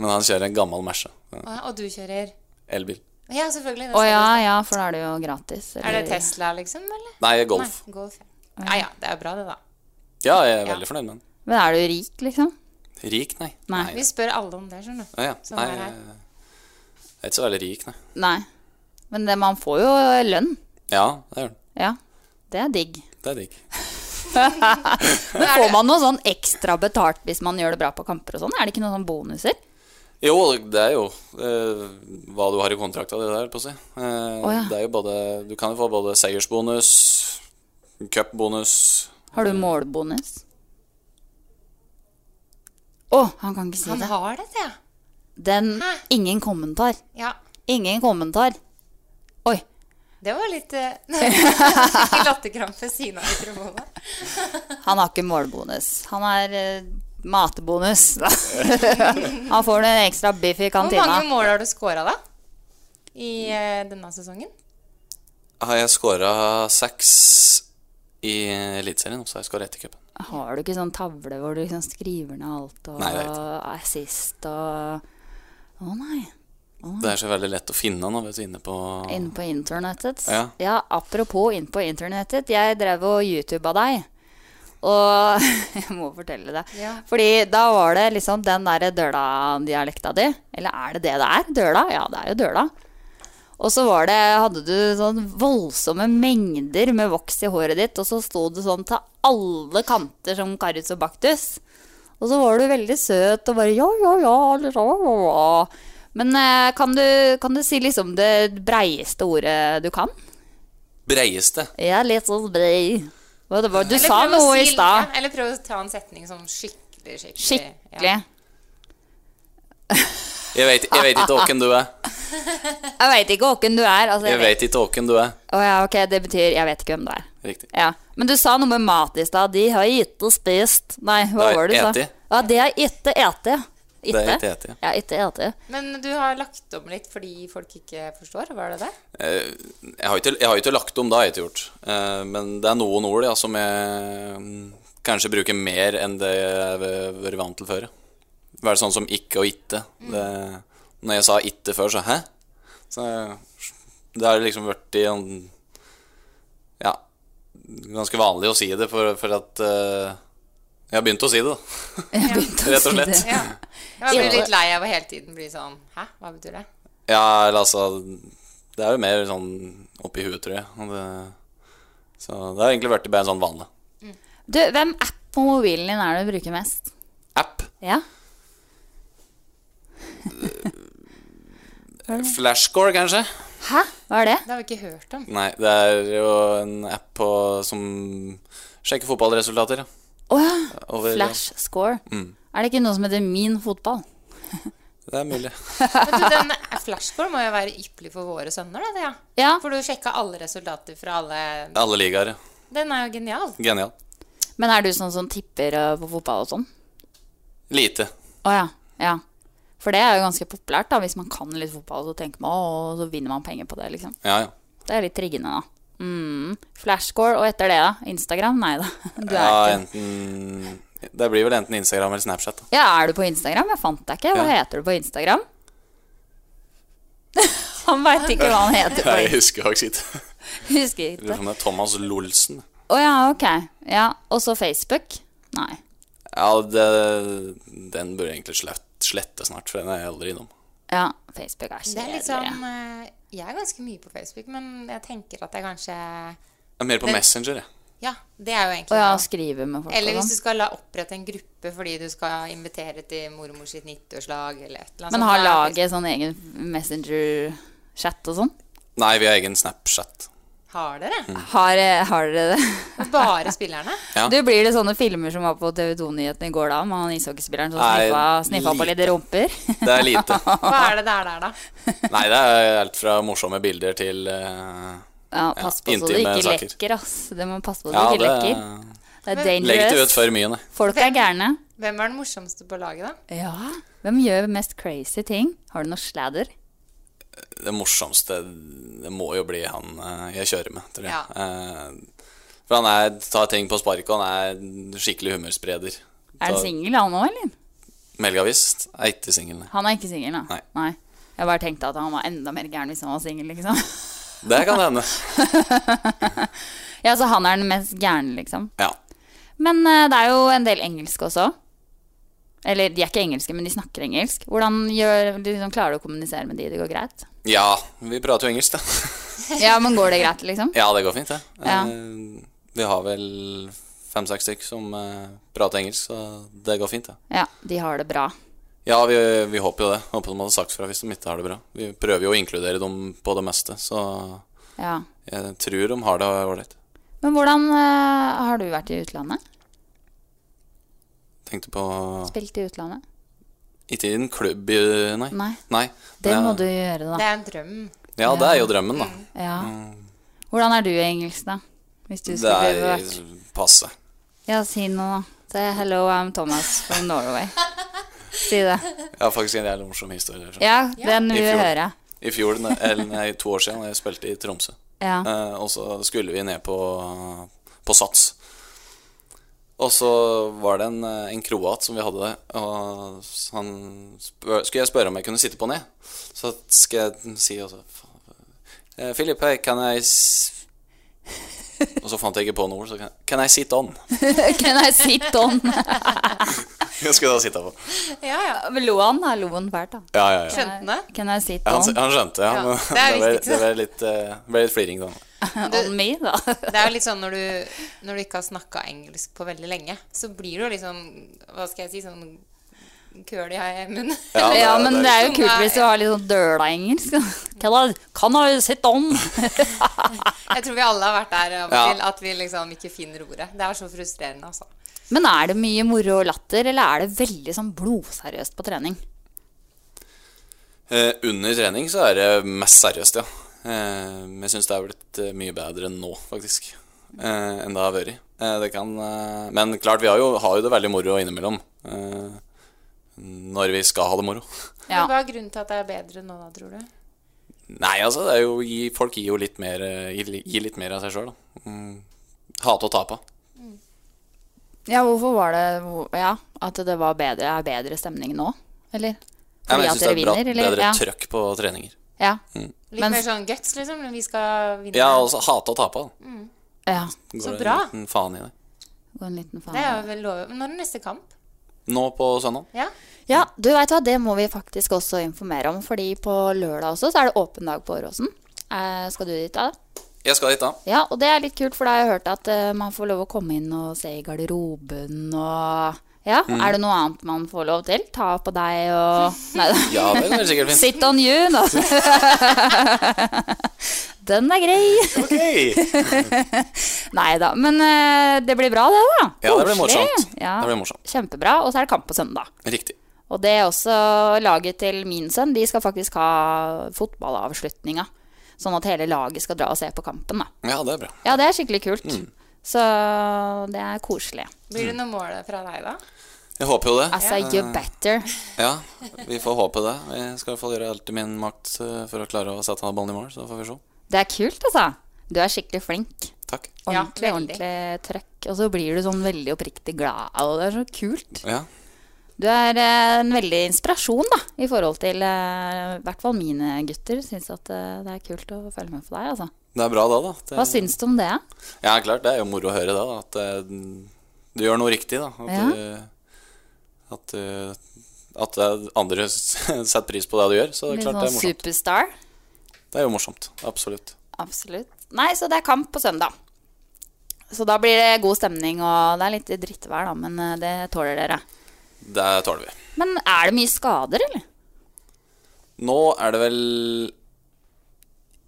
S3: Men han kjører en gammel Merca.
S1: Å, Og du kjører?
S3: Elbil.
S1: Ja, selvfølgelig. det
S5: Å
S1: skal
S5: ja,
S1: du-
S5: ja, for da er det jo gratis.
S1: Er det Tesla, liksom? eller?
S3: Nei, Golf.
S1: Nei, golf. ja. Ja, ja, det er bra, det, da.
S3: Ja, jeg er veldig fornøyd med den.
S5: Men er du rik, liksom?
S3: Rik, nei.
S5: Nei.
S1: Vi spør alle om det, skjønner du.
S3: Ja, ja.
S1: Som
S3: Nei,
S1: er
S3: jeg
S1: her.
S3: er ikke så veldig rik, nei.
S5: Nei. Men det, man får jo eh, lønn.
S3: Ja, det gjør den.
S5: Ja. Det er digg.
S3: Det er digg.
S5: Men får man noe sånn ekstra betalt hvis man gjør det bra på kamper og sånn? Er det ikke noen sånn bonuser?
S3: Jo, det er jo eh, hva du har i kontrakta, det der, på å si. Eh,
S5: ja.
S3: Det er jo både Du kan jo få både seiersbonus, cupbonus
S5: Har du målbonus? Å, han kan ikke si
S1: Han
S5: det.
S1: har det, ja.
S5: Den Ingen kommentar.
S1: Ja.
S5: Ingen kommentar.
S1: Det var litt eh, Fikk latterkrampe ved siden av mikrofonen.
S5: Han har ikke målbonus. Han har eh, matbonus. han får en ekstra biff i
S1: Hvor
S5: kantina.
S1: mange mål har du scora, da? I eh, denne sesongen?
S3: Har jeg scora seks i Eliteserien, og så har jeg scora ett i cupen.
S5: Har du ikke sånn tavle hvor du liksom skriver ned alt og
S3: Nei, det er
S5: assist og Å nei. Å,
S3: Det er så veldig lett å finne nå, vet du, inne på
S5: Inne på internettet.
S3: Ja.
S5: apropos inne på internettet. Jeg drev og YouTuba deg. Og jeg må fortelle det.
S1: Ja.
S5: Fordi da var det liksom den derre døla-dialekta di. Eller er det det det er? Døla? Ja, det er jo døla. Og så var det, hadde du sånn voldsomme mengder med voks i håret ditt, og så sto du sånn til alle kanter som Karius og Baktus. Og så var du veldig søt og bare ja, ja, ja, eller ja, ja, ja. Men eh, kan du, kan du si liksom det breieste ordet du kan?
S3: Breieste.
S5: Ja, litt sånn brei. Hva det var? Du
S1: Eller
S5: sa
S1: prøv å
S5: noe i
S1: si-
S5: stad.
S1: ja, Eller prøv å ta en setning sånn skikkelig, skikkelig.
S5: Skikkelig.
S3: Jeg vet, jeg vet ikke åken du er.
S5: Jeg veit ikke hvem du er. Altså,
S3: Jeg vet ikke åken du er.
S5: Å ja, ok, det betyr jeg vet ikke hvem du er.
S3: Riktig.
S5: Ja. Men du sa noe med mat i stad. De har ikke spist Nei, hva
S3: Nei,
S5: var det du
S3: eti.
S5: sa? Ja, de har ikke ete.
S3: Det er ikke eti.
S5: Ja, ikke ete.
S1: Men du har lagt om litt fordi folk ikke forstår? Var det det?
S3: Eh, Jeg har ikke, jeg har ikke lagt om, det har jeg ikke gjort. Eh, Men det er noen ord ja, som jeg mm, kanskje bruker mer enn det jeg har vært vant til før. ja. Være sånn som ikke og itte.
S1: Mm.
S3: Det, når jeg sa itte før, så hæ? Så det har liksom vært i en Ja, ganske vanlig å si det, for, for at eh, jeg har begynt å si det, da. Rett og slett.
S1: Ja. Jeg blir litt lei av å hele tiden bli sånn Hæ, hva betyr det?
S3: Ja, eller altså Det er jo mer sånn oppi huet, tror jeg. Og det, så det har egentlig blitt bare en sånn vane.
S5: Du, hvem app på mobilen din er det du bruker mest?
S3: App?
S5: Ja.
S3: Flashcore, kanskje?
S5: Hæ? Hva er det?
S1: Det har vi ikke hørt om.
S3: Nei, det er jo en app på, som sjekker fotballresultater. ja.
S5: Å
S3: Over-
S5: ja. Flash score.
S3: Mm.
S5: Er det ikke noe som heter Min fotball?
S3: Det er mulig.
S1: Men du, den flashcore må jo være ypperlig for våre sønner, da, Thea. For du sjekka alle resultater fra alle
S3: Alle ligaer. ja.
S1: Den er jo genial.
S3: Genial.
S5: Men er du sånn som tipper eh, på fotball og sånn?
S3: Lite.
S5: Å ja. ja. For det er jo ganske populært, da. Hvis man kan litt fotball, så tenker man å, så vinner man penger på det, liksom.
S3: Ja, ja.
S5: Det er litt triggende, da. Mm. Flashscore, og etter det, da? Instagram? Nei da. Du er
S3: ja,
S5: ikke
S3: enten Det blir vel enten Instagram eller Snapchat. Da.
S5: Ja, er du på Instagram? Jeg fant deg ikke. Hva
S3: Ja.
S5: heter du på Instagram? han veit ikke hva han heter på
S3: Nei, jeg
S5: Instagram.
S3: husker faktisk ikke.
S5: Husker
S3: Jeg lurer
S5: ikke.
S3: på om det er Thomas Lolsen.
S5: Å ja, ok. Ja, og så Facebook? Nei.
S3: Ja, det, den burde jeg egentlig slett, slette snart, for den er jeg aldri innom.
S5: Ja, Facebook
S1: Det
S5: er
S1: er
S5: kjedelig.
S1: litt sånn eh, Jeg er ganske mye på Facebook, men jeg tenker at jeg kanskje
S3: Jeg er mer på
S1: Men-
S3: Messenger, jeg.
S1: Ja, det er jo egentlig
S5: Å ja,
S1: det.
S5: skrive med folk
S1: Eller
S5: og
S1: hvis du
S5: sånn.
S1: skal la opprette en gruppe fordi du skal invitere til mormor sitt 90-årslag eller et eller annet.
S5: Men
S1: sånt,
S5: har
S1: da er det
S5: laget sånn egen Messenger-chat og sånn?
S3: Nei, vi har egen Snapchat. Mm.
S1: Facebook. Har dere?
S5: Har, eh, har dere det?
S1: Bare spillerne?
S3: Ja.
S5: Du Blir det sånne filmer som var på TV 2-nyhetene i går da, med han ishockeyspilleren som
S3: Nei,
S5: sniffa, sniffa på litt
S3: lite.
S5: rumper?
S3: Det er lite.
S1: Hva er det det er der, da?
S3: Nei, det er alt fra morsomme bilder til eh,
S5: Ja, pass på så du
S3: intime
S5: ikke
S3: saker.
S5: lekker, ass. Det må passe på så
S3: Ja,
S5: du ikke
S3: det-
S5: lekker. Det er
S3: Legg det ut
S5: dangerous.
S3: før mye, nei.
S5: Folk er gærne.
S1: Hvem er den morsomste på laget, da?
S5: Ja. Hvem gjør mest crazy ting? Har du noe sladder?
S3: det morsomste Det må jo bli han eh, jeg kjører med, tror jeg.
S5: Ja.
S3: Eh, For han er, tar ting på sparket, og han er skikkelig humørspreder.
S5: Er han
S3: Ta-
S5: singel han òg, eller?
S3: Melgavist er ikke singel, nei.
S5: Han er ikke singel, da.
S3: Nei.
S5: Jeg bare tenkte at han var enda mer gæren hvis han var singel, liksom.
S3: Det kan hende.
S5: ja, så han er den mest gærne, liksom.
S3: Ja.
S5: Men eh, det er jo en del engelsk også. Eller de er ikke engelske, men de snakker engelsk. Hvordan gjør, liksom, klarer du å kommunisere med de? Det går greit?
S3: Ja, vi prater jo engelsk, da.
S5: Ja, men går det greit, liksom?
S3: Ja, det går fint, det.
S5: Ja.
S3: Eh, Vi har vel fem-seks stykk som eh, prater engelsk, så det går fint, det.
S5: Ja, de har det bra.
S3: Ja, vi, vi håper jo det. Håper de hadde sagt fra hvis de ikke har det bra. Vi prøver jo å inkludere dem på det meste, så
S5: Ja.
S3: jeg tror de har det ålreit.
S5: Men hvordan eh, har du vært i utlandet?
S3: Tenkte på
S5: Spilt i utlandet?
S3: Ikke i en klubb, i- nei.
S5: Nei.
S3: nei.
S5: Det
S3: Men
S5: må
S3: jeg-
S5: du gjøre, da.
S1: Det er en drøm.
S3: Ja, det er jo drømmen, da.
S5: Ja. Mm.
S3: Mm.
S5: Hvordan er du i engelsk, da? Hvis du
S3: Det
S5: skulle bli
S3: er
S5: bevart?
S3: passe.
S5: Ja, si noe, da. Say hello, I'm Thomas from Norway. si det.
S3: Jeg har faktisk en jævlig morsom historie. fra-
S5: Ja, den
S3: I
S5: vil vi
S3: fjor-
S5: høre.
S3: I fjor, ne- eller nei, to år siden, da jeg spilte i Tromsø.
S5: Ja.
S3: Eh, og så skulle vi ned på, på Sats. Og så var det en, eh, en kroat som vi hadde, og s- han spør, skulle jeg spørre om jeg kunne sitte på ned. Så skal jeg si også eh, Philip, hey, can I s Og så fant jeg ikke på noe ord, så kan- Can I sit on?
S5: Can I sit on?
S3: Jeg skulle da sitte på.
S5: ja, ja. Lo han? da? Lo han fælt, da?
S3: Ja, ja, ja.
S5: han det? Can I sit
S3: Ja,
S5: on?
S3: han, han skjønte, ja.
S1: Ja,
S3: Men
S1: det er
S3: det, ble,
S1: viktigste.
S3: det ble litt, eh, ble litt fliring, da.
S5: on me, da.
S1: det er jo litt sånn når du, når du ikke har snakka engelsk på veldig lenge, så blir du jo litt sånn Hva skal jeg si? Sånn køl i munnen.
S5: Ja,
S1: Eller-
S5: men det er jo kult
S1: Nei,
S5: hvis du har litt sånn døla engelsk. Can I, can I sit on?
S1: Jeg tror vi alle har vært der av og
S5: Ja.
S1: til, at vi liksom ikke finner ordet. Det er så frustrerende, altså.
S5: Men er det mye moro og latter, eller er det veldig sånn blodseriøst på trening?
S3: Eh, under trening så er det mest seriøst, ja. Eh, men jeg syns det er blitt eh, mye bedre nå, faktisk, eh, enn det har vært. Eh, det kan, eh, men klart, vi har jo, har jo det veldig moro innimellom. Eh, når vi skal ha det moro.
S1: Men Hva er grunnen til at det er bedre nå, da, tror du?
S3: Nei, altså, det er jo, gi- folk gir jo litt mer, eh, gir, li- gir litt mer av seg sjøl, da. Mm. Hate å tape.
S5: Ja, hvorfor var det hvor- Ja, at det var bedre, er bedre stemning nå? Eller?
S3: Ja, men
S5: Fordi
S3: jeg
S5: at
S3: syns det
S5: dere
S3: er bra,
S5: vinner, eller?
S3: bedre
S5: Ja.
S3: trøkk på treninger.
S5: Ja.
S3: Mm.
S1: Litt mer sånn guts, liksom? Men vi skal vinne.
S3: Ja, altså hate å tape. da.
S1: Mm.
S5: Ja.
S3: Går
S1: Så
S3: det
S1: bra.
S3: En liten faen i det.
S5: Gå en liten faen.
S1: Det er jo vel lov. Når er neste kamp?
S3: Nå på søndag.
S1: Ja.
S5: Ja, du vet hva, det må vi faktisk også informere om, fordi på lørdag også så er det åpen dag på Åråsen. Eh, skal du dit da?
S3: Jeg skal dit, da.
S5: Ja, og det er litt kult, for da har jeg hørt at eh, man får lov å komme inn og se i garderoben og Ja,
S3: Mm.
S5: er det noe annet man får lov til? Ta på deg og Nei da.
S3: Ja, det er sikkert fint.
S5: Sit on you, da. Den er grei. Nei da. Men eh, det blir bra, det, da.
S3: Ja, det blir
S5: Koselig.
S3: morsomt.
S5: Ja.
S3: Det blir morsomt.
S5: Kjempebra. Og så er det kamp på søndag.
S3: Riktig.
S5: Og det er også laget til min sønn. De skal faktisk ha fotballavslutninga. Sånn at hele laget skal dra og se på kampen, da.
S3: Ja, det er bra.
S5: Ja, det er skikkelig kult.
S3: Mm.
S5: Så det er koselig.
S1: Blir det noe mål fra deg, da?
S3: Jeg håper jo det.
S5: Altså,
S3: Eh,
S5: you better.
S3: Ja, vi får håpe det. Jeg skal i hvert fall gjøre alt i min makt eh, for å klare å sette han ballen i mål, så får vi se.
S5: Det er kult, altså. Du er skikkelig flink.
S3: Takk.
S5: Ordentlig, ordentlig trøkk. Og så blir du sånn veldig oppriktig glad, og det er så kult.
S3: Ja.
S5: Du er eh, en veldig inspirasjon, da, i forhold til eh, i hvert fall mine gutter. Syns at eh, det er kult å følge med på deg, altså.
S3: Det er bra da, da. Det,
S5: Hva syns du om det?
S3: Ja, klart. Det er jo moro å høre det, da. At eh, du gjør noe riktig, da. At,
S5: Ja.
S3: du, at, du, at eh, andre setter pris på det du gjør. Så det
S5: Litt
S3: er klart det er
S5: sånn
S3: morsomt.
S5: superstar?
S3: Det er jo morsomt. Absolutt.
S5: Absolutt. Nei, så det er kamp på søndag. Så da blir det god stemning, og det er litt drittvær, da, men eh, det tåler dere.
S3: Det tåler vi.
S5: Men er det mye skader, eller?
S3: Nå er det vel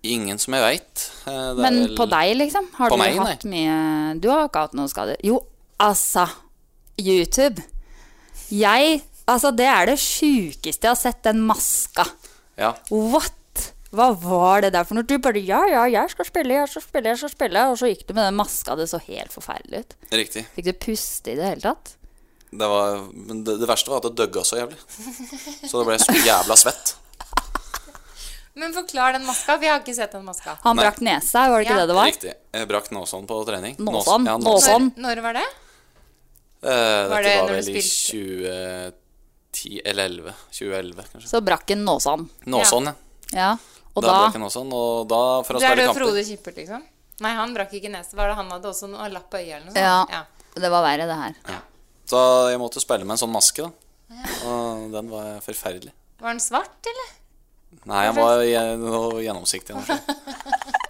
S3: ingen som jeg Eh, veit.
S5: Men på deg, liksom? Har
S3: På
S5: du
S3: meg,
S5: hatt mye Du har ikke hatt noen skader? Jo, altså YouTube. Jeg Altså, det er det sjukeste jeg har sett, den maska.
S3: Ja.
S5: What? Hva var det der for noe? Du bare Ja, ja, jeg skal spille, jeg skal spille, jeg skal spille. Og så gikk du med den maska, det så helt forferdelig ut.
S3: Riktig.
S5: Fikk du puste i det hele tatt?
S3: Det var, men det, det verste var at det døgga så jævlig. Så det ble så jævla svett.
S1: Men forklar den maska. Vi har ikke sett den maska.
S5: Han brakk nesa, var det ikke
S1: Ja.
S5: det det var?
S3: Riktig. Jeg brakk nåsånn på trening.
S5: Nåsånn?
S3: Ja,
S5: Nåsånn?
S1: Når var det?
S3: Eh,
S1: Var
S3: dette
S1: det
S3: var
S1: når du
S3: vel i 2010 eller 11 2011, kanskje.
S5: Så brakk han nåsånn.
S3: Nåsånn, ja.
S5: Ja, og
S3: da,
S5: da,
S3: brakk jeg nåsånn, og da for å
S1: Det er
S3: spille
S1: det
S3: kamper
S1: Frode Kippert, liksom? Nei, han brakk ikke nesa. Var det han hadde også noe lapp på øyet eller noe sånt?
S5: Ja.
S1: Ja.
S5: Det var verre, det her.
S3: Så jeg måtte spille med en sånn maske, da. Og den var forferdelig.
S1: Var den svart, eller?
S3: Nei, han var gje- noe gjennomsiktig. eller noe slikt.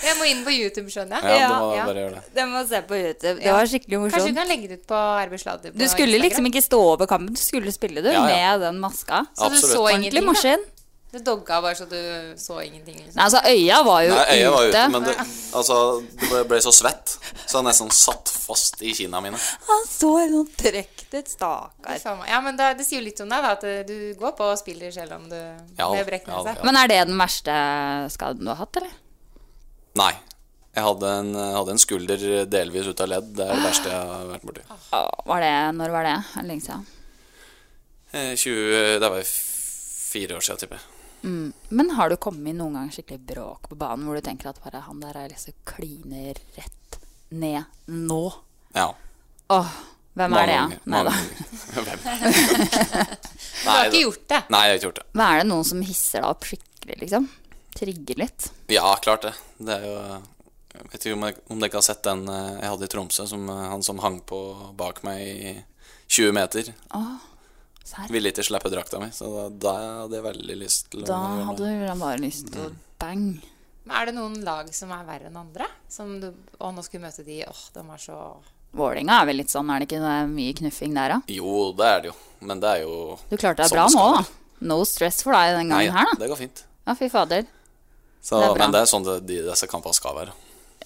S1: Jeg må inn på YouTube, skjønner jeg.
S3: Ja, du må bare gjøre det.
S5: Det må se på YouTube. Det
S1: Ja.
S5: var skikkelig
S1: Kanskje du
S5: morsomt.
S1: kan legge det ut på RB Sladder?
S5: Du skulle liksom ikke stå over kampen, du skulle spille, du.
S1: Ja, ja.
S5: Med den maska.
S1: Så du så
S5: Ordentlig
S1: ingenting?
S5: morsom.
S1: Du dogga bare så du så ingenting? Liksom.
S5: Nei, altså, øya var jo
S3: Nei, øyet var
S5: ute.
S3: ute, men det, altså, det ble, ble så svett, så jeg nesten satt fast i kinna mine.
S5: Han så helt sånn trøkt ut, stakkar.
S1: Faen meg. Ja, men da, Det sier jo litt om deg, da, at du går på og spiller selv om du
S3: Ja,
S1: med brekk
S3: ja,
S1: nese.
S3: ja.
S5: Men er det den verste skaden du har hatt, eller?
S3: Nei. Jeg hadde en, hadde en skulder delvis ut av ledd. Det er det verste jeg har vært borti.
S5: Var det, når var det? Er det Lenge siden.
S3: Eh, 20, det var f- fire år siden, tipper jeg.
S5: Mm. Men har du kommet noen gang skikkelig bråk på banen hvor du tenker at bare han der er liksom kliner rett ned nå?
S3: Ja.
S5: Åh, hvem
S3: Mange
S5: er det,
S3: ganger,
S5: ja? Nei da.
S3: mange ganger. Hvem?
S5: Du har ikke gjort det?
S3: Nei, jeg har ikke gjort det.
S5: Men er det noen som hisser deg opp skikkelig, liksom? Trigger litt?
S3: Ja, klart det. Det er jo Jeg vet ikke om, jeg, om dere ikke har sett den eh, jeg hadde i Tromsø, som, eh, han som hang på bak meg i 20 meter.
S5: Åh, serr.
S3: Ville ikke slippe drakta mi, så da, da hadde jeg veldig lyst til å
S5: Da
S3: gjøre Mm. noe.
S5: hadde han bare lyst til å bang.
S1: Men Er det noen lag som er verre enn andre? Som du, å, nå skulle vi møte de, åh, de var så
S5: Vålerenga er vel litt sånn, er det ikke det er mye knuffing der, da?
S3: Jo, det er det jo, men det er jo
S5: Du klarte deg
S3: sånn
S5: bra
S3: det
S5: nå,
S3: skal
S5: da.
S3: være.
S5: No stress for deg den
S3: Nei,
S5: gangen her, da.
S3: det går fint.
S5: Ja, fy fader.
S3: Så,
S5: Det er bra.
S3: men det er sånn det, de, disse kampene skal være.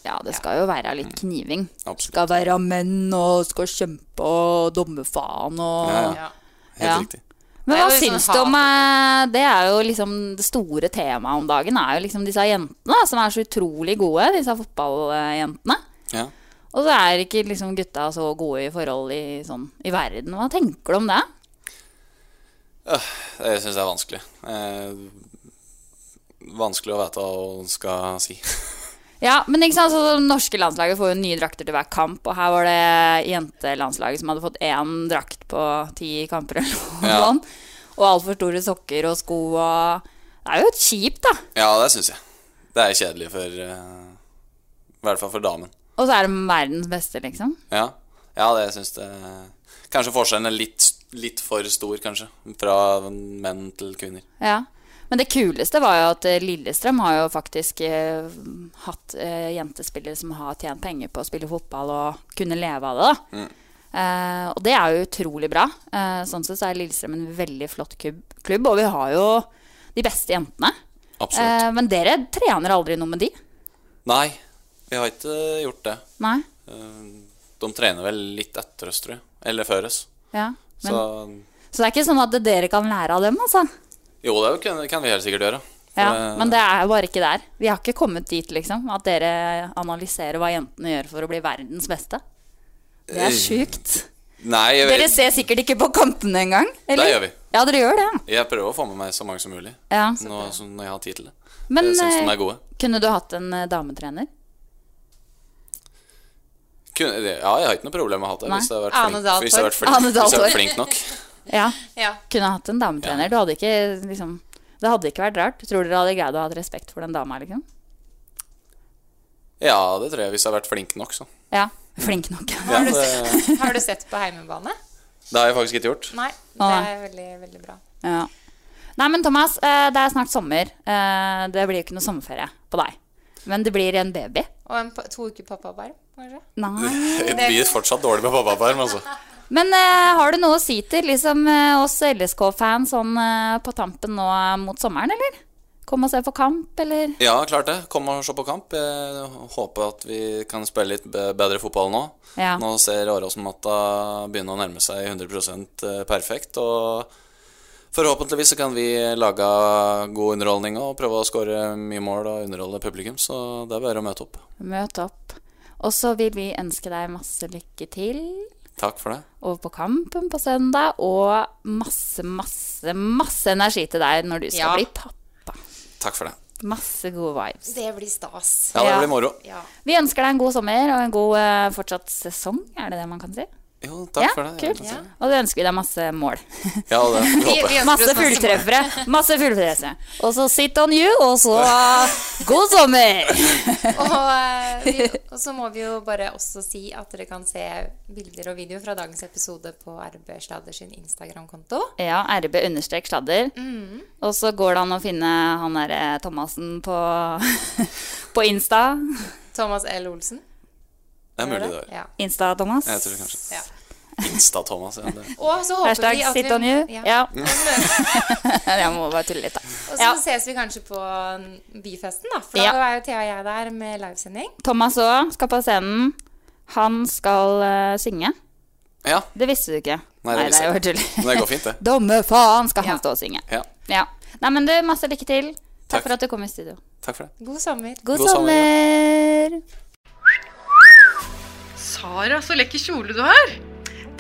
S5: Ja, det skal jo være litt kniving.
S3: Mm. Absolutt.
S5: Skal være menn og skal kjempe og dumme faen og
S3: Ja, ja. Helt
S5: Ja.
S3: riktig.
S5: Men
S1: Det er
S5: hva
S1: jo liksom
S5: syns du om eh, Det er jo liksom det store temaet om dagen. er jo liksom disse jentene da, som er så utrolig gode, disse fotballjentene.
S3: Ja.
S5: Og så er ikke liksom gutta så gode i forhold i, sånn, i verden. Hva tenker du om det?
S3: Øh, Jeg syns det er vanskelig. Eh, vanskelig å vite hva hun skal si.
S5: Ja, men ikke sant, så Det norske landslaget får jo nye drakter til hver kamp, og her var det jentelandslaget som hadde fått én drakt på ti kamper. eller noe
S3: Ja.
S5: sånt. Og altfor store sokker og sko og Det er jo kjipt, da.
S3: Ja, det syns jeg. Det er kjedelig for eh, I hvert fall for damen.
S5: Og så er de verdens beste, liksom.
S3: Ja, ja det syns jeg Kanskje forskjellen er litt, litt for stor, kanskje. Fra menn til kvinner.
S5: Ja. Men det kuleste var jo at eh, Lillestrøm har jo faktisk eh, hatt eh, jentespillere som har tjent penger på å spille fotball og kunne leve av det. da.
S3: Mm.
S5: Eh, og det er jo utrolig bra. Eh, sånn sett så er Lillestrøm en veldig flott kub- klubb, og vi har jo de beste jentene.
S3: Absolutt.
S5: Eh, men dere trener aldri noe med de?
S3: Nei, vi har ikke gjort det.
S5: Nei?
S3: Eh, De trener vel litt etter oss, tror jeg. Eller før oss.
S5: Ja. Men,
S3: Så
S5: så... det er ikke sånn at dere kan lære av dem, altså?
S3: jo, det kan, kan vi helt sikkert gjøre. For,
S5: Ja,
S3: eh,
S5: men det er jo bare ikke der. Vi har ikke kommet dit, liksom. At dere analyserer hva jentene gjør for å bli verdens beste. Det
S3: Eh,
S5: er sjukt.
S3: Nei, jeg,
S5: Dere
S3: vet-
S5: ser sikkert ikke på kampene engang. eller?
S3: Det gjør vi. Mm.
S5: Ja, dere gjør det.
S3: jeg prøver å få med meg så mange som mulig
S5: Ja.
S3: nå som når jeg har tid til det.
S5: Men
S3: jeg syns de
S5: eh,
S3: er gode.
S5: kunne du hatt en eh, dametrener?
S3: Kun, ja, jeg har ikke noe problem med å ha det
S5: Nei.
S3: hvis jeg har vært
S5: Ane
S3: flink,
S5: Dahl
S3: hvis jeg har vært
S5: Torp.
S3: flink,
S5: Ane
S3: hvis jeg
S5: Dahl
S3: har vært
S5: Torp.
S3: flink nok.
S5: Ja.
S1: Ja.
S5: Kunne hatt en dametrener. Du hadde ikke liksom Det hadde ikke vært rart. Tror dere hadde greid å ha hatt respekt for den dama, liksom?
S3: Ja, det tror jeg. Hvis jeg har vært flink nok, så.
S5: Ja. Flink nok.
S3: Mm. Ja, det,
S1: Har du sett på heimebane?
S3: det har jeg faktisk ikke gjort.
S1: Nei. Det
S5: Nei.
S1: er veldig, veldig bra.
S5: Ja. Nei, men Thomas, eh, det er snart sommer. Eh, Det blir jo ikke noe sommerferie på deg. Men det blir en baby.
S1: Og en, pa- to uker pappaperm, kanskje?
S5: Nei.
S3: Det blir fortsatt dårlig med pappaperm, altså.
S5: Men eh, har du noe å si til liksom, eh, oss LSK-fans sånn eh, på tampen nå eh, mot sommeren, eller? Kom og se på kamp, eller?
S3: Ja, klart det. Kom og se på kamp. Jeg håper at vi kan spille litt be- bedre fotball nå.
S5: Ja.
S3: Nå ser Åråsen-matta begynne å nærme seg 100 perfekt. Og forhåpentligvis så kan vi lage god underholdning og prøve å skåre mye mål og underholde publikum. Så det er bare å møte opp.
S5: Møt opp. Og så vil vi ønske deg masse lykke til.
S3: Takk for det.
S5: over på Kampen på søndag, og masse, masse, masse energi til deg når du skal
S1: Ja.
S5: bli pappa.
S3: Takk for det.
S5: Masse gode vibes.
S1: Det blir stas.
S3: Ja, det blir moro.
S1: Ja.
S5: Vi ønsker deg en god sommer og en god eh, fortsatt sesong, er det det man kan si?
S3: Jo, takk
S5: ja,
S3: for det.
S5: Kult. Og så ønsker vi deg masse mål.
S3: Ja, det får vi håpe.
S5: Masse fulltreffere. Masse fulltreffere. Og så sit on you, og så god sommer!
S1: Og, eh, vi, og så må vi jo bare også si at dere kan se bilder og video fra dagens episode på RB Slader sin Instagram-konto.
S5: Ja, RB understrek sladder.
S1: Mm.
S5: Og så går det an å finne han derre Thomassen på, på Insta.
S1: Thomas L. Olsen.
S3: Det er mulig det var.
S5: Insta-Thomas.
S3: Jeg tror kanskje Insta-Thomas. Ja, det.
S1: Og så håper
S5: Hashtag
S1: vi at
S5: sit
S1: vi-
S5: on you.
S1: Ja.
S5: Ja. jeg må bare tulle litt, da.
S1: Og så
S5: Ja.
S1: ses vi kanskje på mm, Byfesten, da. For
S5: Ja.
S1: da er jo Thea og jeg der med livesending.
S5: Thomas òg skal på scenen. Han skal eh, synge.
S3: Ja.
S5: Det visste du ikke.
S3: Nei, det
S5: er jo
S3: visste jeg
S5: tull.
S3: ikke. Men det går fint, det.
S5: Dumme faen skal han stå og synge.
S3: Ja.
S5: Ja. Nei, men du, masse lykke til. Takk, for at du kom i studio.
S3: Takk for det.
S1: God sommer.
S5: God,
S3: God sommer,
S5: sommer.
S7: Sara, så lekker kjole du har!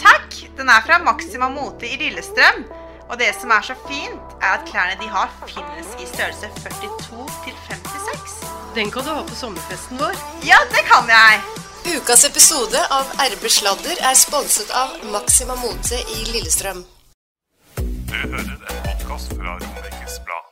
S2: Takk! Den er fra Maxima Mote i Lillestrøm. Og det som er så fint, er at klærne de har, finnes i størrelse 42 til 56.
S7: Den kan du ha på sommerfesten vår.
S2: Ja, det kan jeg!
S8: Ukas episode av RB Sladder er sponset av Maxima Mote i Lillestrøm.
S4: Du hører en podkast fra Romerikes Blad.